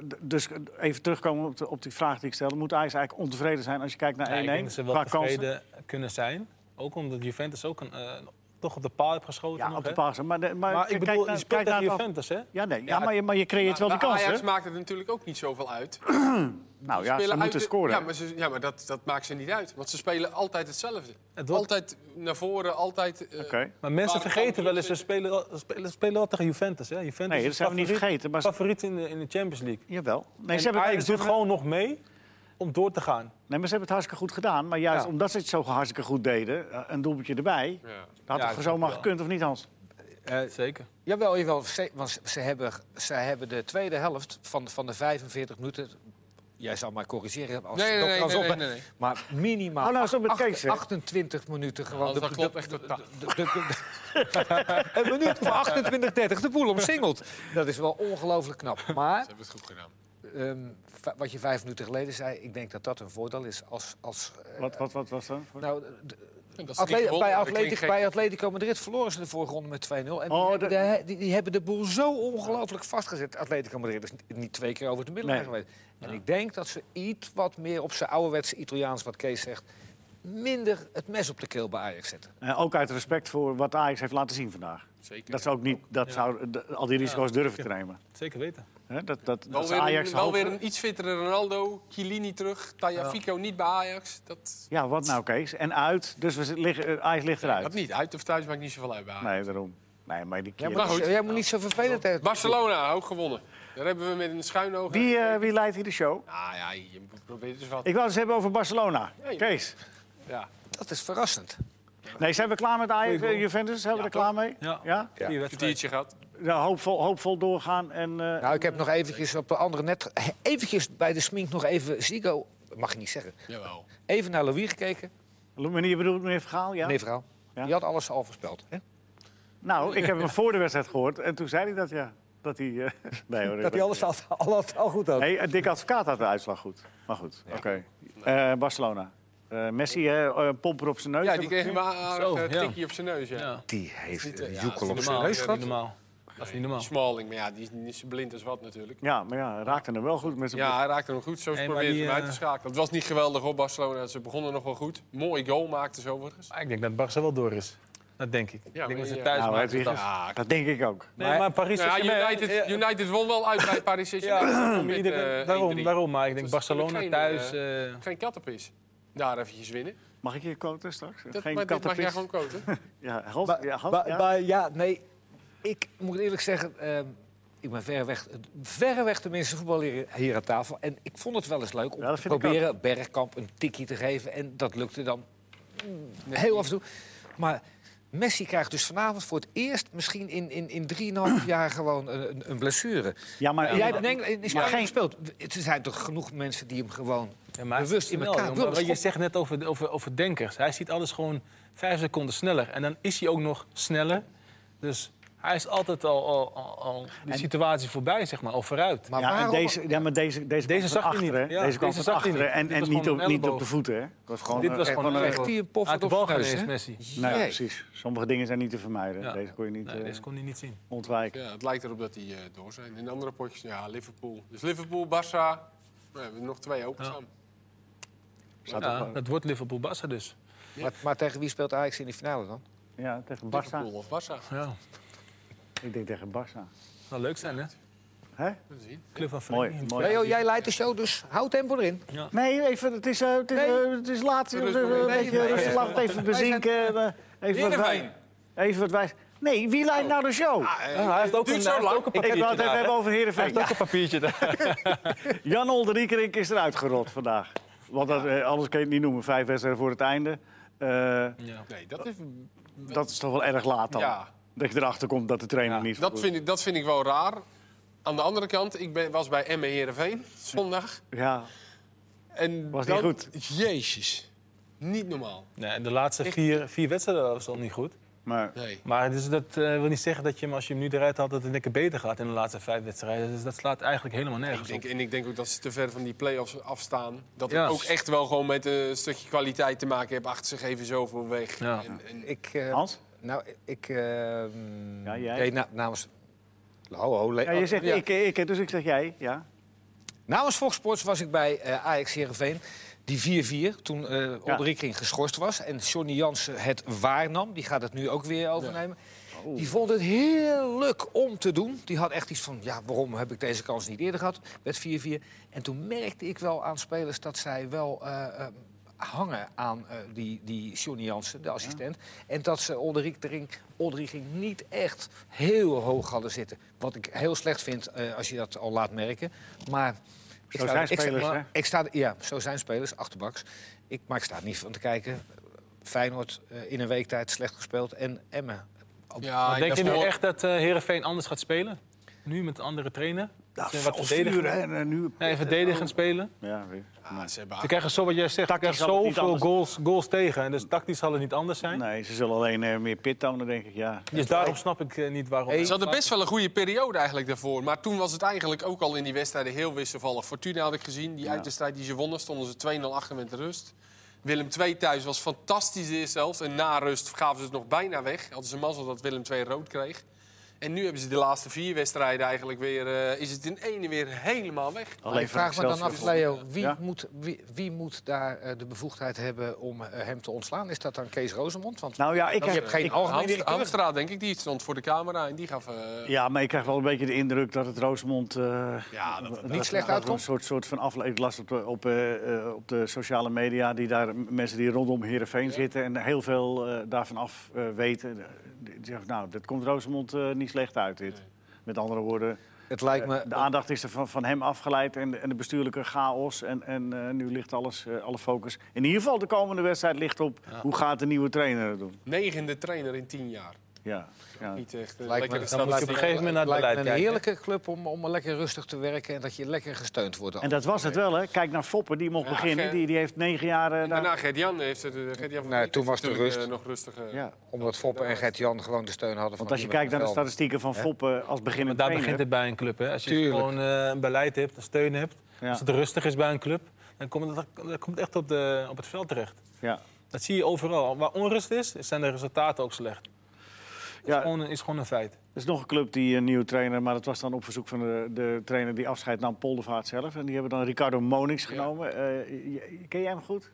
Speaker 1: d- dus even terugkomen op, de, op die vraag die ik stelde. Moet Ajax eigenlijk ontevreden zijn als je kijkt naar 1-1?
Speaker 2: Ja, ik denk dat ze wel
Speaker 1: qua kansen?
Speaker 2: tevreden kunnen zijn. Ook omdat Juventus ook een, eh, toch op de paal heeft geschoten.
Speaker 1: Ja,
Speaker 2: nog,
Speaker 1: op de
Speaker 2: hè?
Speaker 1: paas. Maar, de- maar,
Speaker 2: Maar ik
Speaker 1: kijk
Speaker 2: bedoel,
Speaker 1: naar-
Speaker 2: je speelt
Speaker 1: kijk naar
Speaker 2: tegen
Speaker 1: het af-
Speaker 2: Juventus, hè?
Speaker 1: Ja, nee, ja, maar, je, maar je creëert wel die
Speaker 3: maar
Speaker 1: kansen.
Speaker 3: Ajax
Speaker 1: hè?
Speaker 3: maakt het natuurlijk ook niet zoveel uit.
Speaker 1: Nou ja, ze
Speaker 3: Spelen
Speaker 1: moeten
Speaker 3: uit-
Speaker 1: scoren.
Speaker 3: Ja, maar, ze- ja, maar dat, dat maakt ze niet uit. Want ze spelen altijd hetzelfde.
Speaker 2: Het wordt-
Speaker 3: Altijd naar voren, altijd... eh,
Speaker 1: Oké.
Speaker 2: Maar mensen
Speaker 3: Waar-
Speaker 2: vergeten wel eens, ze spelen, wel- spelen, spelen wel tegen Juventus. Hè? Juventus
Speaker 1: Nee,
Speaker 2: is
Speaker 1: dat zijn we niet
Speaker 2: favoriet-
Speaker 1: vergeten, maar ze-
Speaker 2: favoriet in de, in de Champions League.
Speaker 1: Jawel. Nee,
Speaker 2: En
Speaker 1: ze hebben,
Speaker 2: Ajax
Speaker 1: ze
Speaker 2: doet
Speaker 1: hebben-
Speaker 2: gewoon nog mee om door te gaan.
Speaker 1: nee, maar ze hebben het hartstikke goed gedaan. Maar juist
Speaker 2: Ja.
Speaker 1: omdat ze het zo hartstikke goed deden, eh, een doelpuntje erbij...
Speaker 3: Ja.
Speaker 1: Dat
Speaker 2: Ja,
Speaker 1: had
Speaker 2: ik
Speaker 1: het zomaar
Speaker 2: wel.
Speaker 1: gekund, of niet, Hans?
Speaker 2: Zeker.
Speaker 4: Eh, Jawel, jawel. Ze, want ze- ze hebben, ze hebben de tweede helft van, van de 45 minuten... Jij zal mij corrigeren als
Speaker 3: Nee, nee,
Speaker 4: dokter
Speaker 3: nee,
Speaker 4: Hans
Speaker 3: nee,
Speaker 4: Opta.
Speaker 3: nee, nee.
Speaker 4: Maar minimaal
Speaker 1: Oh, nou, zo met
Speaker 4: acht-
Speaker 1: Kees, hè?
Speaker 4: 28 minuten gewoon.
Speaker 3: Hans, Nou, dat
Speaker 4: de-
Speaker 3: klopt
Speaker 4: de-
Speaker 3: echt
Speaker 4: de-
Speaker 3: totaal.
Speaker 4: de- de- de- (laughs) Een minuut of 28, 30 de boel omsingeld. Dat is wel ongelooflijk knap. Maar
Speaker 3: Ze hebben het goed gedaan.
Speaker 4: ehm, va- wat je vijf minuten geleden zei, ik denk dat dat een voordeel is als... als eh,
Speaker 1: Wat, wat, wat was dat? voor-
Speaker 4: nou, de-
Speaker 3: En dat ze
Speaker 4: Atle-
Speaker 3: niet gewonnen
Speaker 4: bij,
Speaker 3: hebben, dat
Speaker 4: Atletico,
Speaker 3: klinkt
Speaker 4: bij Atletico Madrid verloren ze de vorige ronde met 2-0. En die,
Speaker 1: Oh,
Speaker 4: hebben
Speaker 1: dat-
Speaker 4: de, die, die hebben de boel zo ongelooflijk vastgezet. Atletico Madrid is niet- niet twee keer over de middel
Speaker 1: Nee.
Speaker 4: geweest. En ik denk dat ze iets wat meer op zijn ouderwetse Italiaans, wat Kees zegt, minder het mes op de keel bij Ajax zetten.
Speaker 1: Eh, ook uit respect voor wat Ajax heeft laten zien vandaag.
Speaker 3: Zeker.
Speaker 1: Dat ze ook niet dat zou, de- al die risico's durven te nemen.
Speaker 2: Zeker weten.
Speaker 1: Hè, dat, dat, dat
Speaker 3: Wel
Speaker 1: ze
Speaker 3: weer,
Speaker 1: Ajax
Speaker 3: een, wel
Speaker 1: hoog-
Speaker 3: weer een iets fittere Ronaldo. Chiellini terug. Tajafico niet bij Ajax. Dat,
Speaker 1: Ja, wat nou, Kees? En uit, dus we zit- liggen, eh, Ajax ligt eruit.
Speaker 3: dat niet. Uit of thuis maakt niet zoveel uit bij Ajax.
Speaker 1: Nee, daarom. Nee, maar die
Speaker 4: Jij
Speaker 1: keer...
Speaker 4: moet, niet,
Speaker 3: goed.
Speaker 4: zo- jij moet niet zo vervelend hè.
Speaker 3: Barcelona, ook gewonnen. Daar hebben we met een schuin oog.
Speaker 1: wie, eh, wie leidt hier de show?
Speaker 3: Nou ja, je probeert dus wat.
Speaker 1: Ik wou het eens hebben over Barcelona.
Speaker 3: Ja, je-
Speaker 1: Kees.
Speaker 3: Ja.
Speaker 4: Dat is verrassend.
Speaker 1: Nee, zijn we klaar met Ajax eh, Juventus? Zijn we er klaar mee?
Speaker 2: Ja.
Speaker 1: ja?
Speaker 2: Goeie wedstrijd.
Speaker 3: Kwartiertje gehad.
Speaker 1: Ja, hoopvol, hoopvol doorgaan en... eh,
Speaker 4: Nou, ik heb nog eventjes op een andere net... Eventjes bij de smink nog even Zico... Dat mag je niet zeggen.
Speaker 3: Jawel.
Speaker 4: Even naar Louis gekeken.
Speaker 1: Meneer bedoelt meneer Vergaal, ja?
Speaker 4: Meneer Verhaal.
Speaker 1: Ja.
Speaker 4: Die had alles al voorspeld. Hè?
Speaker 1: Nou, ik heb hem voor de wedstrijd gehoord en toen zei hij dat, ja. Dat hij... eh, nee, hoor,
Speaker 4: Dat hij alles al, al, al goed had.
Speaker 1: Nee, eh, Dick Advocaat had de uitslag goed. Maar goed, oké. Eh, Barcelona. Eh, Messi, hè, eh, een pomper op zijn neus.
Speaker 3: Ja, die kreeg een
Speaker 2: Zo,
Speaker 3: aardig
Speaker 2: ja.
Speaker 3: eh, tikje op zijn neus. Ja.
Speaker 2: Ja.
Speaker 4: Die heeft
Speaker 3: Niet, eh,
Speaker 4: een
Speaker 3: ja,
Speaker 4: joekel
Speaker 3: dat
Speaker 4: op
Speaker 3: is
Speaker 4: zijn
Speaker 2: Normaal.
Speaker 4: neus
Speaker 2: Dat is
Speaker 4: gehad.
Speaker 2: niet normaal. Dat is niet normaal.
Speaker 3: Smalling, maar ja, die is niet zo blind als wat natuurlijk.
Speaker 1: Ja, maar ja, raakte hem wel goed met zijn
Speaker 3: Ja, hij raakte hem goed. Zo
Speaker 2: Nee, maar
Speaker 3: probeerde hij
Speaker 2: die,
Speaker 3: hem
Speaker 2: eh,
Speaker 3: uit te schakelen. Het was niet geweldig op Barcelona. Ze begonnen nog wel goed. Mooi goal maakten ze overigens.
Speaker 2: Maar ik denk dat Barca wel door is. Dat denk ik. ik
Speaker 3: maar
Speaker 2: denk dat ze
Speaker 3: ja.
Speaker 2: thuis
Speaker 1: Nou,
Speaker 2: maken.
Speaker 1: hij-
Speaker 2: dat-
Speaker 3: Ja,
Speaker 1: Dat denk ik ook.
Speaker 2: Nee, maar Paris
Speaker 3: Nou ja,
Speaker 2: Saint-Germain-
Speaker 3: United, United won wel uit bij Paris Saint-Germain.
Speaker 2: Ja, daarom,
Speaker 3: Met,
Speaker 2: iedereen-
Speaker 3: eh,
Speaker 2: daarom,
Speaker 3: 1-3.
Speaker 2: daarom, maar ik denk
Speaker 3: Dat is natuurlijk
Speaker 2: Barcelona
Speaker 3: geen,
Speaker 2: thuis. eh,
Speaker 3: Geen kattenpis. Daar eventjes winnen.
Speaker 1: Mag ik je quoten straks?
Speaker 3: Dat,
Speaker 1: Geen
Speaker 3: maar dat mag jij
Speaker 1: kattenpis.
Speaker 3: gewoon koten.
Speaker 1: Ja, Hans,
Speaker 4: Ba-
Speaker 1: ja, Hans,
Speaker 4: ba-
Speaker 1: ja.
Speaker 4: ba- ja, nee. Ik moet eerlijk zeggen, ehm, ik ben verreweg, verreweg de minste voetballer hier, hier aan tafel. En ik vond het wel eens leuk om
Speaker 1: Ja, dat
Speaker 4: te
Speaker 1: vind ik
Speaker 4: proberen Bergkamp een tikkie te geven. En dat lukte dan
Speaker 1: Mm,
Speaker 4: heel af en toe. Maar Messi krijgt dus vanavond voor het eerst misschien in, in,
Speaker 1: (clears throat)
Speaker 4: in 3,5 jaar gewoon een, een- een blessure.
Speaker 1: ja, maar,
Speaker 4: Jij hebt in Engeland in Spanje
Speaker 1: geen-
Speaker 4: gespeeld. Er zijn toch genoeg mensen die hem gewoon...
Speaker 2: ja, maar hij
Speaker 4: bewust
Speaker 2: is
Speaker 4: in
Speaker 2: snel,
Speaker 4: elkaar
Speaker 2: jongen.
Speaker 4: wil
Speaker 2: Wat je
Speaker 4: schoppen.
Speaker 2: zegt net over, over, over denkers. Hij ziet alles gewoon vijf seconden sneller. En dan is hij ook nog sneller. Dus hij is altijd al, al, al, al die situatie voorbij, zeg maar, al vooruit.
Speaker 4: Maar
Speaker 1: ja, en
Speaker 4: waarom...
Speaker 1: deze, ja, maar deze, deze, kwam van
Speaker 2: zag hij niet.
Speaker 1: achteren.
Speaker 2: Ja,
Speaker 1: deze kwam
Speaker 2: deze
Speaker 1: van
Speaker 2: zag hij
Speaker 1: achteren.
Speaker 2: niet.
Speaker 1: En,
Speaker 2: Dit
Speaker 1: en
Speaker 2: was
Speaker 1: niet,
Speaker 2: gewoon
Speaker 1: op,
Speaker 2: een
Speaker 1: niet op de
Speaker 2: elleboog.
Speaker 1: voeten, hè? Het was gewoon,
Speaker 2: Dit was
Speaker 1: eh,
Speaker 2: gewoon
Speaker 4: krijgt
Speaker 2: een-
Speaker 4: hij een pof
Speaker 2: Uit de
Speaker 4: op zijn
Speaker 2: bal gaan
Speaker 4: neus,
Speaker 2: is
Speaker 4: hè?
Speaker 2: Messi.
Speaker 1: Nou, ja,
Speaker 4: Jee.
Speaker 1: precies. Sommige dingen zijn niet te vermijden.
Speaker 2: Ja.
Speaker 1: Deze kon je niet
Speaker 2: Nee,
Speaker 1: eh,
Speaker 2: deze kon hij niet zien.
Speaker 1: ontwijken.
Speaker 3: Ja, het lijkt erop dat die eh, door zijn. In andere potjes, ja, Liverpool. Dus Liverpool, Barça. We hebben nog twee openstaan.
Speaker 1: Staat er
Speaker 2: Ja,
Speaker 1: gewoon-
Speaker 2: dat wordt Liverpool-Barca dus.
Speaker 4: Maar, maar tegen wie speelt Ajax in de finale dan?
Speaker 1: ja, tegen
Speaker 3: Liverpool
Speaker 1: Barça.
Speaker 3: of Barça.
Speaker 2: Ja,
Speaker 1: Ik denk tegen Barça.
Speaker 2: dat zou leuk zijn, hè?
Speaker 1: Hè?
Speaker 3: Dat is zien.
Speaker 2: Club van
Speaker 1: Mooi,
Speaker 2: Vereniging.
Speaker 1: mooi.
Speaker 4: Leo, jij leidt de show, dus houd tempo erin.
Speaker 1: Nee, even, het is, eh, het is,
Speaker 4: Nee.
Speaker 1: eh, het is laat. joh.
Speaker 3: Rustig,
Speaker 1: Eh, een
Speaker 3: nee,
Speaker 1: beetje
Speaker 3: nee.
Speaker 1: rustig, laat het even bezinken. eh, Even wat, wij,
Speaker 3: Heerenveen.
Speaker 1: even wat wij... Nee, wie leidt nou de show?
Speaker 2: Ja, hij heeft ook
Speaker 3: Duurt
Speaker 2: een,
Speaker 3: zo
Speaker 2: hij heeft
Speaker 3: lang.
Speaker 2: ook een
Speaker 1: Ik
Speaker 2: papiertje
Speaker 1: wil het even
Speaker 2: Oh. Ah, daar, hè?
Speaker 1: hebben over
Speaker 2: Hij
Speaker 1: Heerenveen.
Speaker 2: heeft ook een papiertje daar.
Speaker 1: Jan Olderiekerink is eruit gerot vandaag. Want dat, eh, anders kun je het niet noemen. Vijf wedstrijden voor het einde. Eh,
Speaker 2: Ja.
Speaker 3: Nee, dat is...
Speaker 1: dat is toch wel erg laat dan.
Speaker 3: Ja.
Speaker 1: Dat je erachter komt dat de trainer
Speaker 2: Ja,
Speaker 1: niet...
Speaker 3: Dat vind, ik, dat vind ik wel raar. Aan de andere kant, ik ben, was bij Emme Heerenveen zondag.
Speaker 1: Ja,
Speaker 3: En
Speaker 1: Was niet
Speaker 3: dat-
Speaker 1: goed.
Speaker 3: Jezus. Niet normaal.
Speaker 2: Nee, de laatste vier, vier wedstrijden was al niet goed.
Speaker 1: maar...
Speaker 3: Nee.
Speaker 2: Maar dus dat eh, wil niet zeggen dat je hem, als je hem nu eruit haalt, dat het lekker beter gaat in de laatste vijf wedstrijden. Dus dat slaat eigenlijk helemaal
Speaker 3: Ik
Speaker 2: nergens
Speaker 3: denk,
Speaker 2: op.
Speaker 3: en ik denk ook dat ze te ver van die play-offs afstaan. Dat
Speaker 2: Ja.
Speaker 3: het ook echt wel gewoon met een stukje kwaliteit te maken heeft. Achter ze geven zoveel weg.
Speaker 2: Ja.
Speaker 3: En, en,
Speaker 4: Ik, eh,
Speaker 1: Hans?
Speaker 4: Nou, ik... eh,
Speaker 1: Ja, jij?
Speaker 4: nee, na- namens... Ho, ho, le- oh.
Speaker 1: Oh, Ja, je zegt
Speaker 3: ja.
Speaker 1: ik, ik, dus ik zeg jij. Ja.
Speaker 4: Namens Fox Sports was ik bij eh, Ajax Heerenveen. Die 4-4, toen eh Olderikering geschorst was. En Johnny Jansen het waarnam. Die gaat het nu ook weer overnemen.
Speaker 1: Oh.
Speaker 4: Die vond het heerlijk om te doen. Die had echt iets van, ja, waarom heb ik deze kans niet eerder gehad? Met 4-4. En toen merkte ik wel aan spelers dat zij wel... eh, eh, hangen aan eh, die, die Johnny Jansen, de assistent. En dat ze Olderikering Olderikering niet echt heel hoog hadden zitten. Wat ik heel slecht vind eh, als je dat al laat merken. Maar ik
Speaker 1: Zo
Speaker 4: sta-
Speaker 1: zijn
Speaker 4: ik sta-
Speaker 1: spelers,
Speaker 4: maar-
Speaker 1: hè?
Speaker 4: Ik sta, ja, zo zijn spelers, achterbaks. Ik, maar ik sta er niet van te kijken. Feyenoord eh, in een week tijd slecht gespeeld en Emmen.
Speaker 3: ja,
Speaker 2: Maar denk
Speaker 3: dat
Speaker 2: je nu
Speaker 3: wel-
Speaker 2: echt dat eh Herenveen anders gaat spelen? Nu met een andere trainer?
Speaker 1: Ja,
Speaker 2: Ze
Speaker 1: fel vuur, hè, en, eh, nu...
Speaker 2: Nee, verdedigend spelen.
Speaker 1: Ja, weer.
Speaker 3: nou, Ah, ze hebben
Speaker 2: Ze krijgen zo wat jij zegt, ze
Speaker 1: Tactisch
Speaker 2: krijgen
Speaker 1: zal het niet
Speaker 2: zoveel
Speaker 1: anders
Speaker 2: goals, goals tegen. En dus tactisch zal het niet anders zijn.
Speaker 1: Nee, ze zullen alleen eh, meer pit tonen, denk ik. Ja.
Speaker 2: Dus daarom snap ik eh, niet waarom.
Speaker 4: Hey,
Speaker 3: Ze hadden best wel een goede periode eigenlijk daarvoor. Maar toen was het eigenlijk ook al in die wedstrijden heel wisselvallig. Fortuna had ik gezien, die uitwedstrijd die ze wonnen, stonden ze 2-0 achter met de rust. Willem II thuis was fantastisch de eerste helft. En na rust gaven ze het nog bijna weg. Hadden ze mazzel dat Willem II rood kreeg. En nu hebben ze de laatste vier wedstrijden eigenlijk weer... eh, is het in ene weer helemaal weg.
Speaker 4: Maar ik vraag me dan af,
Speaker 1: Excelsior.
Speaker 4: Leo, wie,
Speaker 1: Ja.
Speaker 4: moet, wie, wie moet daar eh, de bevoegdheid hebben om eh, hem te ontslaan? Is dat dan Kees Rozemond? Want
Speaker 1: Nou ja, ik
Speaker 4: je
Speaker 1: heb,
Speaker 4: hebt geen
Speaker 1: ik-
Speaker 4: algemeen
Speaker 3: Hamstra,
Speaker 4: directeur.
Speaker 3: Hamstra, denk ik, die stond voor de camera en die gaf... eh,
Speaker 1: ja, maar ik krijg wel een beetje de indruk dat het Roosmond... eh,
Speaker 3: ja, dat-
Speaker 1: Dat-
Speaker 4: niet
Speaker 1: dat-
Speaker 4: slecht
Speaker 1: dat-
Speaker 4: uitkomt?
Speaker 1: Een soort, soort van afle- Ik las op, de- op, eh, eh, op de sociale media die daar mensen die rondom Heerenveen zitten en heel veel eh, daarvan af eh, weten. Die, die zeggen, nou, dat komt Rosemond eh, niet slecht uit dit. Met andere woorden,
Speaker 4: Het lijkt me...
Speaker 1: de aandacht is er van, van hem afgeleid en, de- en de bestuurlijke chaos. En, en eh, nu ligt alles, eh, alle focus. In ieder geval de komende wedstrijd ligt op hoe gaat de nieuwe trainer het doen.
Speaker 3: negende trainer in tien jaar.
Speaker 1: Ja, ja.
Speaker 3: Niet echt eh, een
Speaker 4: Lijkt me,
Speaker 3: lekkere
Speaker 2: dan moet je
Speaker 3: statistiek.
Speaker 2: op een gegeven moment naar het
Speaker 4: lijkt me
Speaker 2: beleid
Speaker 4: een
Speaker 2: kijken.
Speaker 4: heerlijke club om, om lekker rustig te werken en dat je lekker gesteund wordt.
Speaker 1: En dat was het wel, hè? Kijk naar Foppen, die mocht
Speaker 3: Ja,
Speaker 1: beginnen.
Speaker 3: Ger-
Speaker 1: die, die heeft negen jaar... eh,
Speaker 3: En
Speaker 1: daar-
Speaker 3: daarna Gert-Jan heeft het... eh, Gert-Jan van
Speaker 4: Nee,
Speaker 3: Dijk
Speaker 4: toen
Speaker 3: heeft
Speaker 4: was de
Speaker 3: natuurlijk,
Speaker 4: rust.
Speaker 3: eh, nog rustiger.
Speaker 1: ja.
Speaker 4: Omdat Foppen en Gert-Jan gewoon de steun hadden van
Speaker 1: Want als je kijkt naar de statistieken van Foppen als
Speaker 2: Maar
Speaker 1: beginnend
Speaker 2: daar
Speaker 1: trainer...
Speaker 2: begint het bij een club. Hè? Als je
Speaker 4: Tuurlijk.
Speaker 2: gewoon eh, een beleid hebt, een steun hebt.
Speaker 1: Ja.
Speaker 2: Als het rustig is bij een club, dan komt het, dat komt echt op, de, op het veld terecht.
Speaker 1: Ja.
Speaker 2: Dat zie je overal. Waar onrust is, zijn de resultaten ook slecht.
Speaker 1: Ja,
Speaker 2: Gewoon, is gewoon een feit.
Speaker 1: er is nog een club die een nieuwe trainer, maar dat was dan op verzoek van de, de trainer die afscheid nam, Poldervaart zelf. En die hebben dan Ricardo Monings genomen. Eh, je- ken jij hem goed?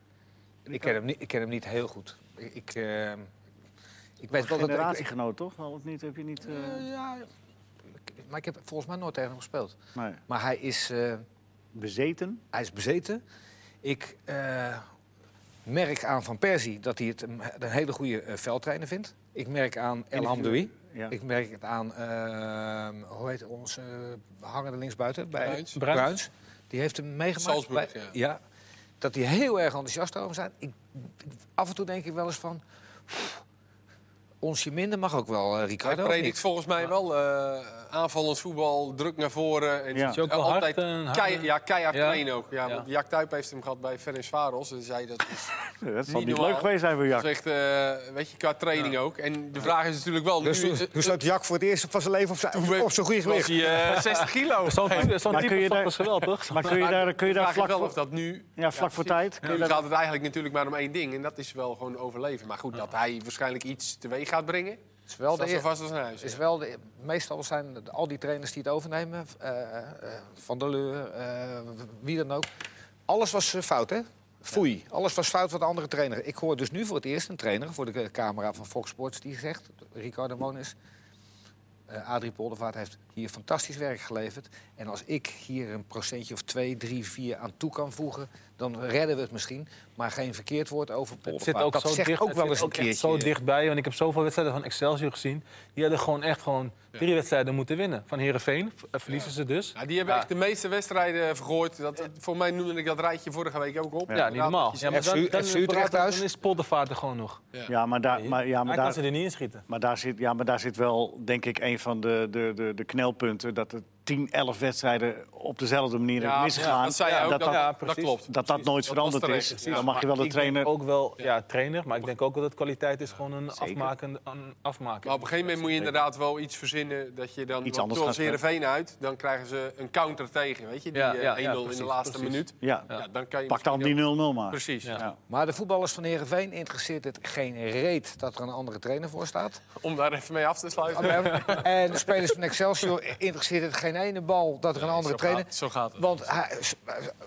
Speaker 4: Ik ken hem niet, ik ken hem niet heel goed. Ik, ik, eh, ik weet wel dat... ik- ik-
Speaker 1: Generatiegenoot, toch? Al of niet, heb je niet... eh,
Speaker 4: eh, ja, ik- maar ik heb volgens mij nooit tegen hem gespeeld.
Speaker 1: nee.
Speaker 4: Maar hij is... eh,
Speaker 1: Bezeten?
Speaker 4: Hij is bezeten. Ik eh, merk aan Van Persie dat hij het een, een hele goede eh, veldtrainer vindt. Ik merk aan El Hamdoui.
Speaker 1: Ja.
Speaker 4: Ik merk het aan, eh, hoe heet onze eh, hangende linksbuiten? Bij
Speaker 3: Bruins.
Speaker 4: Bruins.
Speaker 2: Bruins.
Speaker 4: Die heeft hem meegemaakt.
Speaker 3: Salzburg,
Speaker 4: bij-
Speaker 3: ja.
Speaker 4: Dat die heel erg enthousiast over zijn. Ik, ik- af en toe denk ik wel eens van... pff, Onsje minder mag ook wel, eh,
Speaker 3: Hij
Speaker 4: Ricardo. of
Speaker 3: predikt
Speaker 4: niet?
Speaker 3: volgens mij wel eh aanvallend voetbal, druk naar voren. En
Speaker 1: Ja.
Speaker 2: Is je ook wel
Speaker 3: altijd
Speaker 2: hard, eh, een harde-
Speaker 3: kei, ja, keihard
Speaker 2: Ja.
Speaker 3: trainen ook. Ja,
Speaker 2: Ja.
Speaker 3: Want Jack Tuyp heeft hem gehad bij Ferencvaros en zei dat is,
Speaker 1: Nee, (laughs) dat zal
Speaker 3: Niet
Speaker 1: niet
Speaker 3: normaal.
Speaker 1: leuk geweest zijn voor
Speaker 3: dat
Speaker 1: Jack.
Speaker 3: is echt, eh, weet je, qua training ook. En de vraag is natuurlijk wel,
Speaker 4: Dus
Speaker 3: nu, eh,
Speaker 4: toen- toen sloot Jack voor het eerst van zijn leven op zijn,
Speaker 3: Toen we-
Speaker 4: op zijn goede
Speaker 3: was
Speaker 4: gewicht.
Speaker 3: hij eh, 60
Speaker 2: (laughs)
Speaker 3: kilo.
Speaker 2: Zo'n zo'n
Speaker 1: Maar kun
Speaker 2: type
Speaker 1: je
Speaker 2: vak
Speaker 1: daar-
Speaker 2: was er wel, toch?
Speaker 1: (laughs) Maar kun je daar, kun je
Speaker 3: De
Speaker 1: daar
Speaker 3: vraag is
Speaker 1: vlak
Speaker 3: wel of
Speaker 1: voor,
Speaker 3: dat nu...
Speaker 1: ja, vlak voor tijd... kun je
Speaker 3: Nu
Speaker 1: daar-
Speaker 3: gaat het eigenlijk natuurlijk maar om één ding. En dat is wel gewoon overleven. Maar goed, dat hij waarschijnlijk iets teweeg gaat brengen.
Speaker 4: Het is wel
Speaker 3: dat
Speaker 4: de
Speaker 3: is
Speaker 4: eer-
Speaker 3: vast als een huis.
Speaker 4: is wel de, meestal zijn de- al die trainers die het overnemen, eh, eh, Van der Leur, eh, wie dan ook. Alles was eh, fout, hè? Foei. Alles was fout wat de andere trainer. Ik hoor dus nu voor het eerst een trainer voor de eh, camera van Fox Sports die zegt, Ricardo Monis. eh Adrie Poldervaart heeft hier fantastisch werk geleverd. En als ik hier een procentje of twee, drie, vier aan toe kan voegen... dan redden we het misschien. Maar geen verkeerd woord over
Speaker 2: Het
Speaker 4: Poldervaart.
Speaker 2: zit ook
Speaker 4: Oh, dat
Speaker 2: zo
Speaker 4: zegt
Speaker 2: dicht,
Speaker 4: ook
Speaker 2: het
Speaker 4: wel
Speaker 2: zit
Speaker 4: eens een
Speaker 2: ook echt
Speaker 4: keertje.
Speaker 2: zo dichtbij. Want ik heb zoveel wedstrijden van Excelsior gezien. Die hadden gewoon echt gewoon drie wedstrijden moeten winnen. Van Herenveen verliezen ze dus.
Speaker 3: Ja, die hebben echt de meeste wedstrijden eh, vergooid. Dat, voor mij noemde ik dat rijtje vorige week ook op.
Speaker 2: Ja, niet normaal. Ja,
Speaker 4: FC FC Utrecht thuis.
Speaker 2: dan is Poldervaart er gewoon nog.
Speaker 1: Ja, maar daar... Maar, ja, maar
Speaker 2: Hij kan
Speaker 1: daar
Speaker 2: ze er niet inschieten.
Speaker 1: Maar daar zit, ja, maar daar zit wel, denk ik, een van de, de, de, de knelpunten. Dat er 10, 11 wedstrijden op dezelfde manier
Speaker 3: Ja,
Speaker 1: is misgegaan.
Speaker 3: ja, dat zei jij ook,
Speaker 1: dat, dat,
Speaker 3: dat-
Speaker 2: ja,
Speaker 3: dat
Speaker 2: precies.
Speaker 3: klopt.
Speaker 1: dat, dat nooit
Speaker 3: Dat
Speaker 1: veranderd
Speaker 3: was terecht,
Speaker 1: is.
Speaker 3: precies.
Speaker 1: Dan mag je wel de
Speaker 2: Ik denk
Speaker 1: trainer...
Speaker 2: ook wel, ja, trainer. Maar ik denk ook wel dat kwaliteit is gewoon een
Speaker 1: Zeker.
Speaker 2: afmaken. Een afmaken.
Speaker 3: Maar op een gegeven moment moet je inderdaad wel iets verzinnen dat je dan
Speaker 1: Iets
Speaker 3: want
Speaker 1: anders
Speaker 3: zoals
Speaker 1: gaan spelen.
Speaker 3: Heerenveen uit, dan krijgen ze een counter tegen, weet je? Die
Speaker 2: Ja,
Speaker 3: eh, 1-0
Speaker 2: ja, ja,
Speaker 3: in de
Speaker 2: precies,
Speaker 3: laatste
Speaker 2: precies.
Speaker 3: minuut.
Speaker 1: Ja,
Speaker 3: Ja, dan kan je
Speaker 1: pak dan die
Speaker 3: misschien
Speaker 1: 0-0 maar.
Speaker 3: ook- Precies.
Speaker 2: Ja.
Speaker 1: Ja.
Speaker 4: Maar de voetballers van Herenveen interesseert het geen reet dat er een andere trainer voor staat.
Speaker 3: Om daar even mee af te sluiten.
Speaker 4: en de spelers van Excelsior interesseert het geen ene bal dat er een andere trainer.
Speaker 3: Zo gaat het.
Speaker 4: Want hij,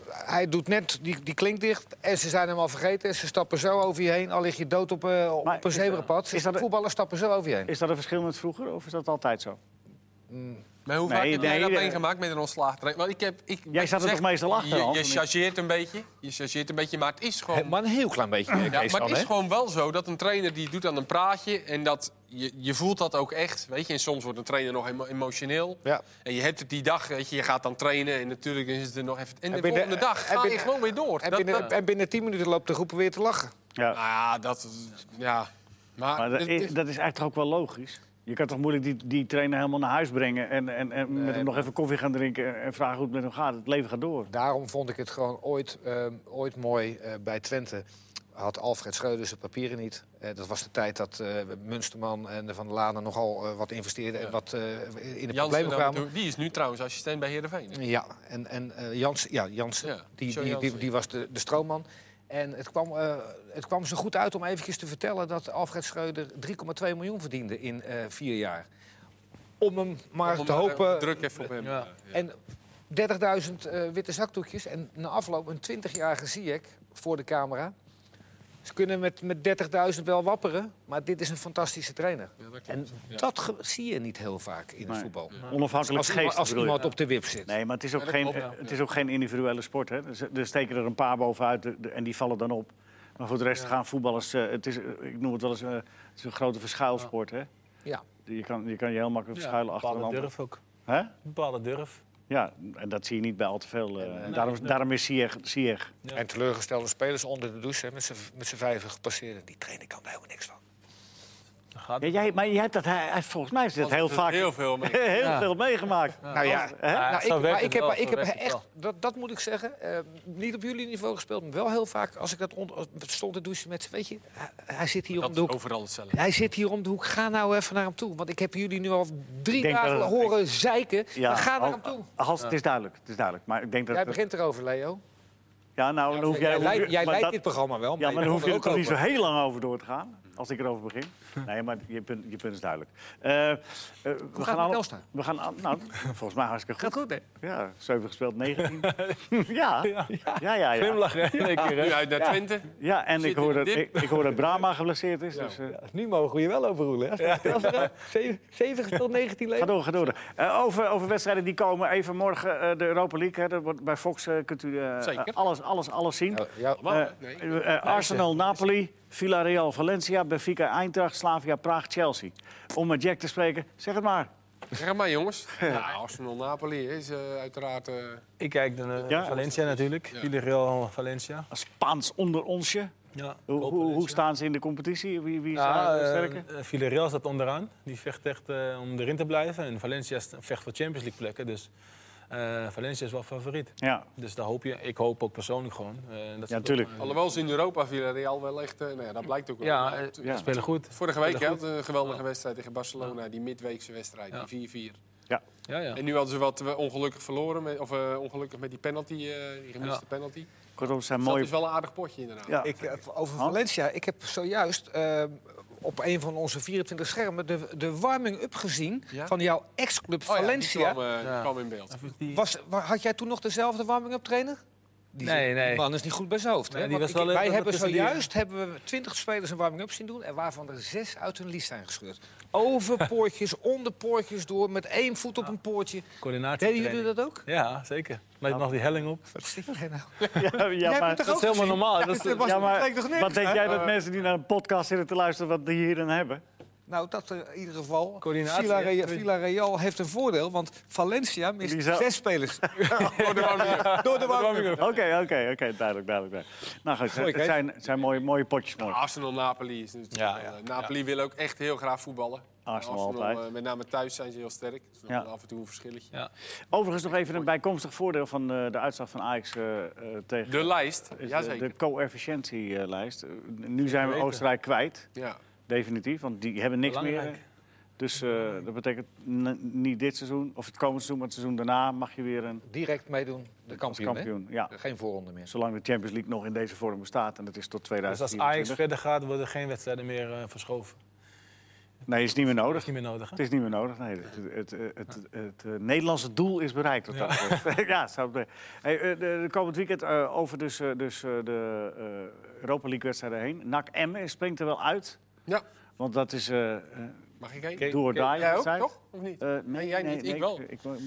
Speaker 4: hij doet net die, die klink dicht en ze zijn hem al vergeten. En ze stappen zo over je heen, al lig je dood op, eh,
Speaker 1: Maar
Speaker 4: op een
Speaker 1: is-
Speaker 4: zebrapad.
Speaker 1: is dat-
Speaker 4: voetballers stappen zo over je heen.
Speaker 1: Is dat een verschil met vroeger of is dat altijd zo?
Speaker 3: Maar hoe
Speaker 1: Nee,
Speaker 3: vaak heb jij
Speaker 1: nee,
Speaker 3: dat
Speaker 1: eh,
Speaker 3: meegemaakt met een ontslaagtrainer? Want ik heb, ik, wat je
Speaker 1: zat er
Speaker 3: zegt,
Speaker 1: toch meestal achter,
Speaker 3: Je,
Speaker 1: Hans,
Speaker 3: je
Speaker 1: of niet?
Speaker 3: chargeert een beetje, je chargeert een beetje, maar het is
Speaker 4: He-
Speaker 3: gewoon...
Speaker 4: Maar een heel klein beetje. eh,
Speaker 3: Ja,
Speaker 4: Kees
Speaker 3: maar
Speaker 4: dan,
Speaker 3: het is
Speaker 4: hè?
Speaker 3: gewoon wel zo dat een trainer die doet aan een praatje en dat je, je voelt dat ook echt, weet je. En soms wordt een trainer nog emo- emotioneel.
Speaker 4: Ja.
Speaker 3: En je hebt het die dag, weet je, je gaat dan trainen en natuurlijk is het er nog even. En de
Speaker 4: binnen-
Speaker 3: volgende dag
Speaker 4: en
Speaker 3: ga je
Speaker 4: binnen-
Speaker 3: gewoon weer door.
Speaker 4: En
Speaker 3: Dat,
Speaker 4: binnen,
Speaker 3: dat,
Speaker 4: en binnen tien minuten loopt de groep weer te lachen.
Speaker 1: Ja.
Speaker 3: nou ja, dat, ja. Maar,
Speaker 1: Maar dat
Speaker 3: het-
Speaker 1: is,
Speaker 3: het-
Speaker 1: dat is eigenlijk toch ook wel logisch? Je kan toch moeilijk die, die trainer helemaal naar huis brengen... en, en, en met hem nog even koffie gaan drinken en- en vragen hoe het met hem gaat. Het leven gaat door.
Speaker 4: Daarom vond ik het gewoon ooit, eh, ooit mooi eh, bij Twente. Had Alfred Schreuders de papieren niet. Eh, dat was de tijd dat eh, Munsterman en Van der Lanen nogal eh, wat investeerden en wat eh, in de
Speaker 3: Jansen
Speaker 4: problemen
Speaker 3: dan
Speaker 4: kwamen.
Speaker 3: natuurlijk- die is nu trouwens assistent bij Heerenveen. hè?
Speaker 4: Ja, en, en eh, Jans, ja, Jansen,
Speaker 3: Ja,
Speaker 4: die,
Speaker 3: Sjo
Speaker 4: die, die,
Speaker 3: Jansen.
Speaker 4: die was de, de stroomman. En het kwam, eh, het kwam ze goed uit om eventjes te vertellen dat Alfred Schreuder 3,2 miljoen verdiende in eh, vier jaar. om hem maar
Speaker 3: Om,
Speaker 4: te
Speaker 3: eh,
Speaker 4: hopen.
Speaker 3: Druk even op hem.
Speaker 2: Ja.
Speaker 4: En 30.000 eh, witte zakdoekjes. En na afloop een 20-jarige Ziyech voor de camera. Ze kunnen met, met 30.000 wel wapperen, maar dit is een fantastische trainer.
Speaker 3: Ja, dat klopt.
Speaker 4: En
Speaker 3: Ja.
Speaker 4: dat ge- zie je niet heel vaak in het
Speaker 1: Nee.
Speaker 4: voetbal.
Speaker 1: Onafhankelijk
Speaker 4: Als,
Speaker 1: geest.
Speaker 4: iemand- als
Speaker 1: bedoel je?
Speaker 4: iemand op de wip zit.
Speaker 1: Nee, maar het is ook,
Speaker 3: Ja, dat
Speaker 1: geen,
Speaker 3: klopt, ja.
Speaker 1: eh, het is ook geen individuele sport. Hè? Er z- Er steken er een paar bovenuit de- de- en die vallen dan op. Maar voor de rest gaan voetballers... eh, het is, eh, ik noem het wel eens eh, het is een grote verschuilsport. Hè?
Speaker 4: Ja.
Speaker 1: Je, kan, je kan je heel makkelijk verschuilen achter een
Speaker 2: bepaalde
Speaker 1: ander.
Speaker 2: durf ook.
Speaker 1: Hè?
Speaker 2: Bepaalde durf.
Speaker 1: Ja, en dat zie je niet bij al te veel. eh,
Speaker 4: En,
Speaker 1: en daarom, daarom is Sieg. Sieg.
Speaker 2: Ja.
Speaker 4: En teleurgestelde spelers onder de douche hè, met z'n- met z'n vijven gepasseerd. Die trainer kan daar helemaal niks van.
Speaker 2: Dan gaat
Speaker 1: Ja, jij, maar jij hebt dat, hij, hij- volgens mij is dat
Speaker 3: Want
Speaker 1: heel
Speaker 3: het
Speaker 1: vaak (laughs) heel,
Speaker 3: Heel veel. mee.
Speaker 2: Ja.
Speaker 1: veel meegemaakt. Oh,
Speaker 4: Nou ja,
Speaker 1: Hè?
Speaker 2: Ja,
Speaker 4: nou,
Speaker 2: zo werkt
Speaker 4: ik, maar
Speaker 2: het
Speaker 4: ik heb,
Speaker 2: wel,
Speaker 4: maar ik
Speaker 2: zo
Speaker 4: heb
Speaker 2: werkt het
Speaker 4: echt,
Speaker 2: wel.
Speaker 4: dat, dat moet ik zeggen, eh, niet op jullie niveau gespeeld, maar wel heel vaak als ik dat onder, als- stond te douchen met, z'n- weet je, hij, hij zit hier
Speaker 3: Dat
Speaker 4: om
Speaker 3: is
Speaker 4: de hoek.
Speaker 3: overal hetzelfde.
Speaker 4: Hij zit hier om de hoek. Ga nou even naar hem toe. Want ik heb jullie nu al drie
Speaker 1: denk
Speaker 4: dagen
Speaker 1: dat het-
Speaker 4: horen zeiken. Maar ga naar
Speaker 1: Hal-
Speaker 4: hem toe.
Speaker 1: Hals, Oh, het is duidelijk. Het is duidelijk. Maar ik denk dat...
Speaker 4: Jij begint erover, Leo.
Speaker 1: Ja, nou, dan hoef jij...
Speaker 4: jij
Speaker 1: hoef je-
Speaker 4: leidt, jij
Speaker 1: maar
Speaker 4: leidt
Speaker 1: dat-
Speaker 4: dit programma wel.
Speaker 1: Ja, maar dan
Speaker 4: je
Speaker 1: hoef je er
Speaker 4: komt
Speaker 1: toch
Speaker 4: ook
Speaker 1: niet zo
Speaker 4: over.
Speaker 1: heel lang over door te
Speaker 4: (laughs)
Speaker 1: gaan. Als ik erover begin. Nee, maar je punt, je punt is duidelijk. Eh, eh, we,
Speaker 4: het met
Speaker 1: gaan alle-
Speaker 4: Telstar?
Speaker 1: we gaan al-
Speaker 4: (laughs)
Speaker 1: Nou, volgens mij hartstikke goed.
Speaker 4: Gaat goed, hè?
Speaker 1: Ja, 7 gespeeld,
Speaker 4: (laughs)
Speaker 1: 19. ja, (laughs) ja, ja. ja, ja.
Speaker 2: Glimlach, hè? in één keer, hè?
Speaker 3: Nu uit naar Twente.
Speaker 1: en ik
Speaker 3: Zit in
Speaker 1: hoor,
Speaker 3: de
Speaker 1: dat,
Speaker 3: dip.
Speaker 1: ik, ik hoor dat Brahma geblesseerd is. Dus, eh,
Speaker 5: Nu mogen we je wel overroelen. hè? Als het- als het-
Speaker 1: (laughs)
Speaker 5: 70 tot 19
Speaker 1: Ga
Speaker 5: leven.
Speaker 1: door, ga door. Eh, over, over wedstrijden die komen. Even morgen eh, de Europa League. Hè, dat wordt, bij Fox eh, kunt u eh,
Speaker 3: Zeker.
Speaker 1: alles, alles, alles zien.
Speaker 4: Ja, ja,
Speaker 3: Wat?
Speaker 1: Eh,
Speaker 3: nee.
Speaker 1: eh, eh, Arsenal, Napoli, Villarreal, Valencia, Benfica, Eintracht, Slavia, Praag, Chelsea. Om met Jack te spreken, zeg het maar.
Speaker 3: Zeg het maar, jongens. Ja, Arsenal-Napoli is eh, uiteraard... eh,
Speaker 2: Ik kijk dan eh,
Speaker 1: Ja.
Speaker 2: Valencia natuurlijk.
Speaker 3: Ja.
Speaker 2: Villarreal, eh, Valencia.
Speaker 1: Een Spaans onder onsje.
Speaker 2: Ja,
Speaker 1: Hoe, hoe, hoe staan ze in de competitie? Wie, wie is daar
Speaker 2: Ja,
Speaker 1: de
Speaker 2: eh,
Speaker 1: sterke?
Speaker 2: eh, Villarreal staat onderaan. Die vecht echt eh, om erin te blijven. En Valencia st- vecht voor Champions League plekken. Dus eh, Valencia is wel favoriet.
Speaker 1: Ja,
Speaker 2: Dus daar hoop je, ik hoop ook persoonlijk gewoon. eh, dat ze-
Speaker 1: ja, natuurlijk.
Speaker 3: Alhoewel ze in Europa Villarreal wel echt... eh, nou ja, dat blijkt ook wel.
Speaker 2: Ja, eh,
Speaker 1: Ja.
Speaker 2: ze spelen goed.
Speaker 3: Vorige week
Speaker 2: Spelen
Speaker 3: hè, een geweldige wedstrijd tegen Barcelona. Die midweekse wedstrijd,
Speaker 2: Ja.
Speaker 3: die 4-4.
Speaker 2: Ja, ja.
Speaker 3: En nu hadden ze wat eh, ongelukkig verloren. Met, of eh, ongelukkig met die penalty, eh, die gemiste
Speaker 2: Ja.
Speaker 3: penalty.
Speaker 1: Kortom, ze zijn
Speaker 3: Dus dat
Speaker 1: mooi.
Speaker 3: is wel een aardig potje inderdaad. Oh
Speaker 1: Ja.
Speaker 4: Ik, eh, over Valencia, ik heb zojuist eh, op een van onze 24 schermen de, de warming-up gezien
Speaker 3: Ja?
Speaker 4: van jouw ex-club
Speaker 3: Oh ja, die
Speaker 4: Valencia.
Speaker 3: kwam, eh, die
Speaker 2: Ja.
Speaker 3: kwam in beeld.
Speaker 2: Even die-
Speaker 4: Was, wa- had jij toen nog dezelfde warming-up trainer? Die,
Speaker 2: Nee,
Speaker 4: die
Speaker 2: nee.
Speaker 4: man is niet goed bij zijn hoofd.
Speaker 2: Nee,
Speaker 4: hè?
Speaker 2: die
Speaker 4: Want
Speaker 2: was
Speaker 4: ik-
Speaker 2: wel eh,
Speaker 4: wij
Speaker 2: even
Speaker 4: hebben
Speaker 2: tussen die-
Speaker 4: zojuist hebben we 20 spelers een warming-up zien doen... en waarvan er zes uit hun lies zijn gescheurd.
Speaker 2: (laughs)
Speaker 4: Over poortjes, onder poortjes door, met één voet op een poortje.
Speaker 2: coördinatie.
Speaker 4: Deden jullie dat ook?
Speaker 2: Ja, zeker. Maar je mag die helling op.
Speaker 4: Wat stik jij nou?
Speaker 1: (laughs) Ja, ja,
Speaker 4: jij
Speaker 1: maar-
Speaker 4: moet toch
Speaker 2: Dat is helemaal
Speaker 4: ook gezien?
Speaker 2: normaal.
Speaker 4: Ja,
Speaker 2: Dat
Speaker 1: (laughs)
Speaker 2: is-
Speaker 4: dit was
Speaker 1: ja, maar
Speaker 4: bleek toch niks,
Speaker 1: wat denk
Speaker 4: hè?
Speaker 1: jij dat mensen die naar een podcast zitten te luisteren, wat die hier dan hebben?
Speaker 4: Nou, dat eh, in ieder geval.
Speaker 2: Coördinatie, eh,
Speaker 4: Villarreal,
Speaker 2: hè?
Speaker 4: Villarreal heeft een voordeel, want Valencia mist
Speaker 1: Die zou-
Speaker 4: zes
Speaker 2: (laughs)
Speaker 4: spelers.
Speaker 2: Door de warming
Speaker 1: Oké, (laughs) oké, oké, duidelijk, duidelijk. duidelijk. Nou goed,
Speaker 4: Goeie,
Speaker 1: het
Speaker 4: Kees.
Speaker 1: zijn, het zijn mooie, mooie potjes morgen.
Speaker 3: Arsenal-Napoli is natuurlijk...
Speaker 2: Ja,
Speaker 3: wel,
Speaker 2: ja.
Speaker 3: eh, Napoli wil ook echt heel graag voetballen.
Speaker 1: Arsenal altijd.
Speaker 3: eh, met name thuis zijn ze heel sterk. Dus
Speaker 1: Ja.
Speaker 3: af en toe een verschilletje.
Speaker 2: Ja.
Speaker 1: Overigens nog even een bijkomstig voordeel van eh, de uitslag van Ajax eh, eh, tegen
Speaker 3: De lijst,
Speaker 1: is de,
Speaker 3: jazeker.
Speaker 1: de co-efficiëntielijst. nu zijn we
Speaker 2: weten.
Speaker 1: Oostenrijk kwijt,
Speaker 3: Ja.
Speaker 1: definitief, want die hebben niks meer.
Speaker 2: Belangrijk.
Speaker 1: eh. Dus eh, dat betekent n- niet dit seizoen, of het komende seizoen, maar het seizoen daarna mag je weer een
Speaker 4: Direct meedoen, de kampioen. hè?
Speaker 1: kampioen. Ja.
Speaker 4: Geen voorronde meer.
Speaker 1: Zolang de Champions League nog in deze vorm bestaat, en dat is tot
Speaker 2: Dus als
Speaker 1: 2024.
Speaker 2: Ajax verder gaat, worden er geen wedstrijden meer eh, verschoven.
Speaker 1: Nee, is niet meer
Speaker 2: Dat is
Speaker 1: nodig.
Speaker 2: niet meer nodig. hè?
Speaker 1: Het is niet meer nodig. Nee, het, het, het, het- het, eh, Nederlandse doel is bereikt. Wat dat betreft. (laughs) ja, zou het be- hey, eh, de, de komend weekend eh, over dus, eh, dus eh, de eh, Europa League wedstrijden heen. NAC Emmen springt er wel uit.
Speaker 3: ja,
Speaker 1: Want dat is eh eh,
Speaker 3: mag ik heen?
Speaker 2: Oké.
Speaker 1: door daar.
Speaker 3: Jij ook, toch? Of niet?
Speaker 1: Eh, nee,
Speaker 3: Nee, jij
Speaker 1: nee,
Speaker 3: niet, ik
Speaker 1: nee,
Speaker 3: wel.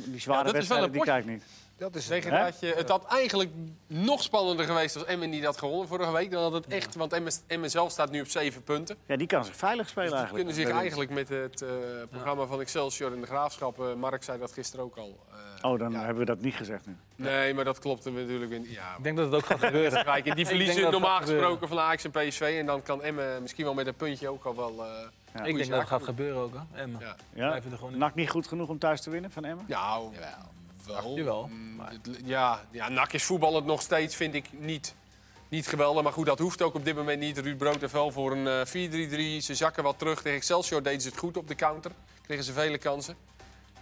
Speaker 1: die zware
Speaker 3: Ja, dat is wel
Speaker 1: wedstrijden
Speaker 3: een
Speaker 1: die kijk ik niet.
Speaker 4: Dat is het.
Speaker 3: Zeg dat je, het had eigenlijk nog spannender geweest als Emmen niet had gewonnen vorige week. Dan had het echt, want Emmen, Emmen zelf staat nu op zeven punten.
Speaker 1: Ja, die kan zich veilig spelen
Speaker 3: Dus die
Speaker 1: eigenlijk.
Speaker 3: kunnen zich
Speaker 1: Dat is-
Speaker 3: eigenlijk met het eh, programma van Excelsior en de Graafschap... eh, Mark zei dat gisteren ook al. eh,
Speaker 1: Oh, dan
Speaker 3: ja.
Speaker 1: hebben we dat niet gezegd nu.
Speaker 3: Nee, maar dat klopt natuurlijk weer niet. (laughs) Ja,
Speaker 2: Ik denk dat het ook gaat gebeuren.
Speaker 3: Kijk, en die verliezen
Speaker 2: denk dat
Speaker 3: normaal
Speaker 2: gaat gebeuren.
Speaker 3: gesproken van Ajax en PSV. En dan kan Emmen misschien wel met een puntje ook al wel... eh
Speaker 1: Ja.
Speaker 2: Ik
Speaker 3: goede
Speaker 2: denk dat
Speaker 3: zaak
Speaker 2: het gaat
Speaker 3: doen.
Speaker 2: gebeuren ook. Hè. Emma.
Speaker 3: Ja.
Speaker 1: Ja?
Speaker 2: Blijven er gewoon in.
Speaker 1: NAC niet goed genoeg om thuis te winnen van Emmen?
Speaker 3: Nou, wel.
Speaker 2: Jawel.
Speaker 3: Mm, het- Ja, ja, NAC is voetballend nog steeds, vind ik, niet, niet geweldig. Maar goed, dat hoeft ook op dit moment niet. Ruud Brood en Vel voor een eh, 4-3-3. Ze zakken wat terug. Tegen Excelsior deden ze het goed op de counter. Kregen ze vele kansen.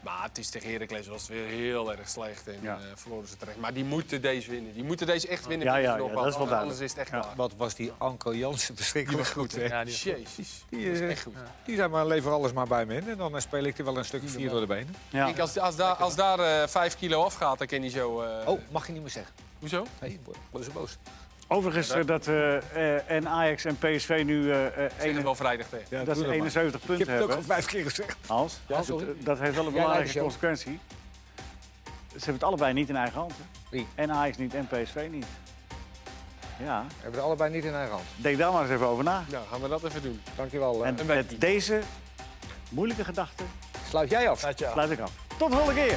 Speaker 3: Maar het is tegen Heracles was het weer heel erg slecht en
Speaker 1: Ja.
Speaker 3: eh, verloren ze terecht. Maar die moeten deze winnen. Die moeten deze echt winnen.
Speaker 1: Ja,
Speaker 3: tegen
Speaker 1: ja,
Speaker 3: Knoppen,
Speaker 1: ja, dat is wel
Speaker 3: anders-
Speaker 1: duidelijk.
Speaker 3: Anders is het
Speaker 1: Ja.
Speaker 3: echt klaar.
Speaker 4: Wat was die Anko Jansen verschrikkelijk goed, hè?
Speaker 2: Ja, die-
Speaker 3: Jezus.
Speaker 4: Die, eh,
Speaker 3: Echt goed.
Speaker 4: die zei maar, lever alles maar bij me in. En dan eh, speel ik er wel een stukje vier door de benen.
Speaker 1: Ja.
Speaker 3: Ik, als, als, daar- als daar eh 5 kilo afgaat, dan kan hij zo... eh,
Speaker 4: Oh, mag je niet meer zeggen.
Speaker 3: Hoezo?
Speaker 4: Nee, bo- boze boos.
Speaker 1: Overigens eh, dat eh, eh, en Ajax en PSV nu eh, eh,
Speaker 3: Zeg het
Speaker 1: ene-
Speaker 3: wel vrijdag tegen.
Speaker 4: Ja,
Speaker 1: dat ze 71
Speaker 4: Ik
Speaker 1: punten
Speaker 4: heb het ook al
Speaker 1: hebben.
Speaker 4: vijf keer gezegd.
Speaker 1: Hans,
Speaker 4: Ja,
Speaker 1: dat-
Speaker 4: sorry.
Speaker 1: dat heeft wel een
Speaker 4: Jij leidt
Speaker 1: belangrijke
Speaker 4: de show.
Speaker 1: consequentie. Ze hebben het allebei niet in eigen hand. hè.
Speaker 4: Wie?
Speaker 1: En Ajax niet en PSV niet. Ja,
Speaker 4: We hebben het allebei niet in eigen hand.
Speaker 1: denk daar maar eens even over na.
Speaker 3: Nou, gaan we dat even doen.
Speaker 4: Dankjewel. eh. wel.
Speaker 1: En met deze moeilijke gedachten
Speaker 4: sluit jij af.
Speaker 2: Laat je af.
Speaker 1: sluit ik af. Tot de volgende keer!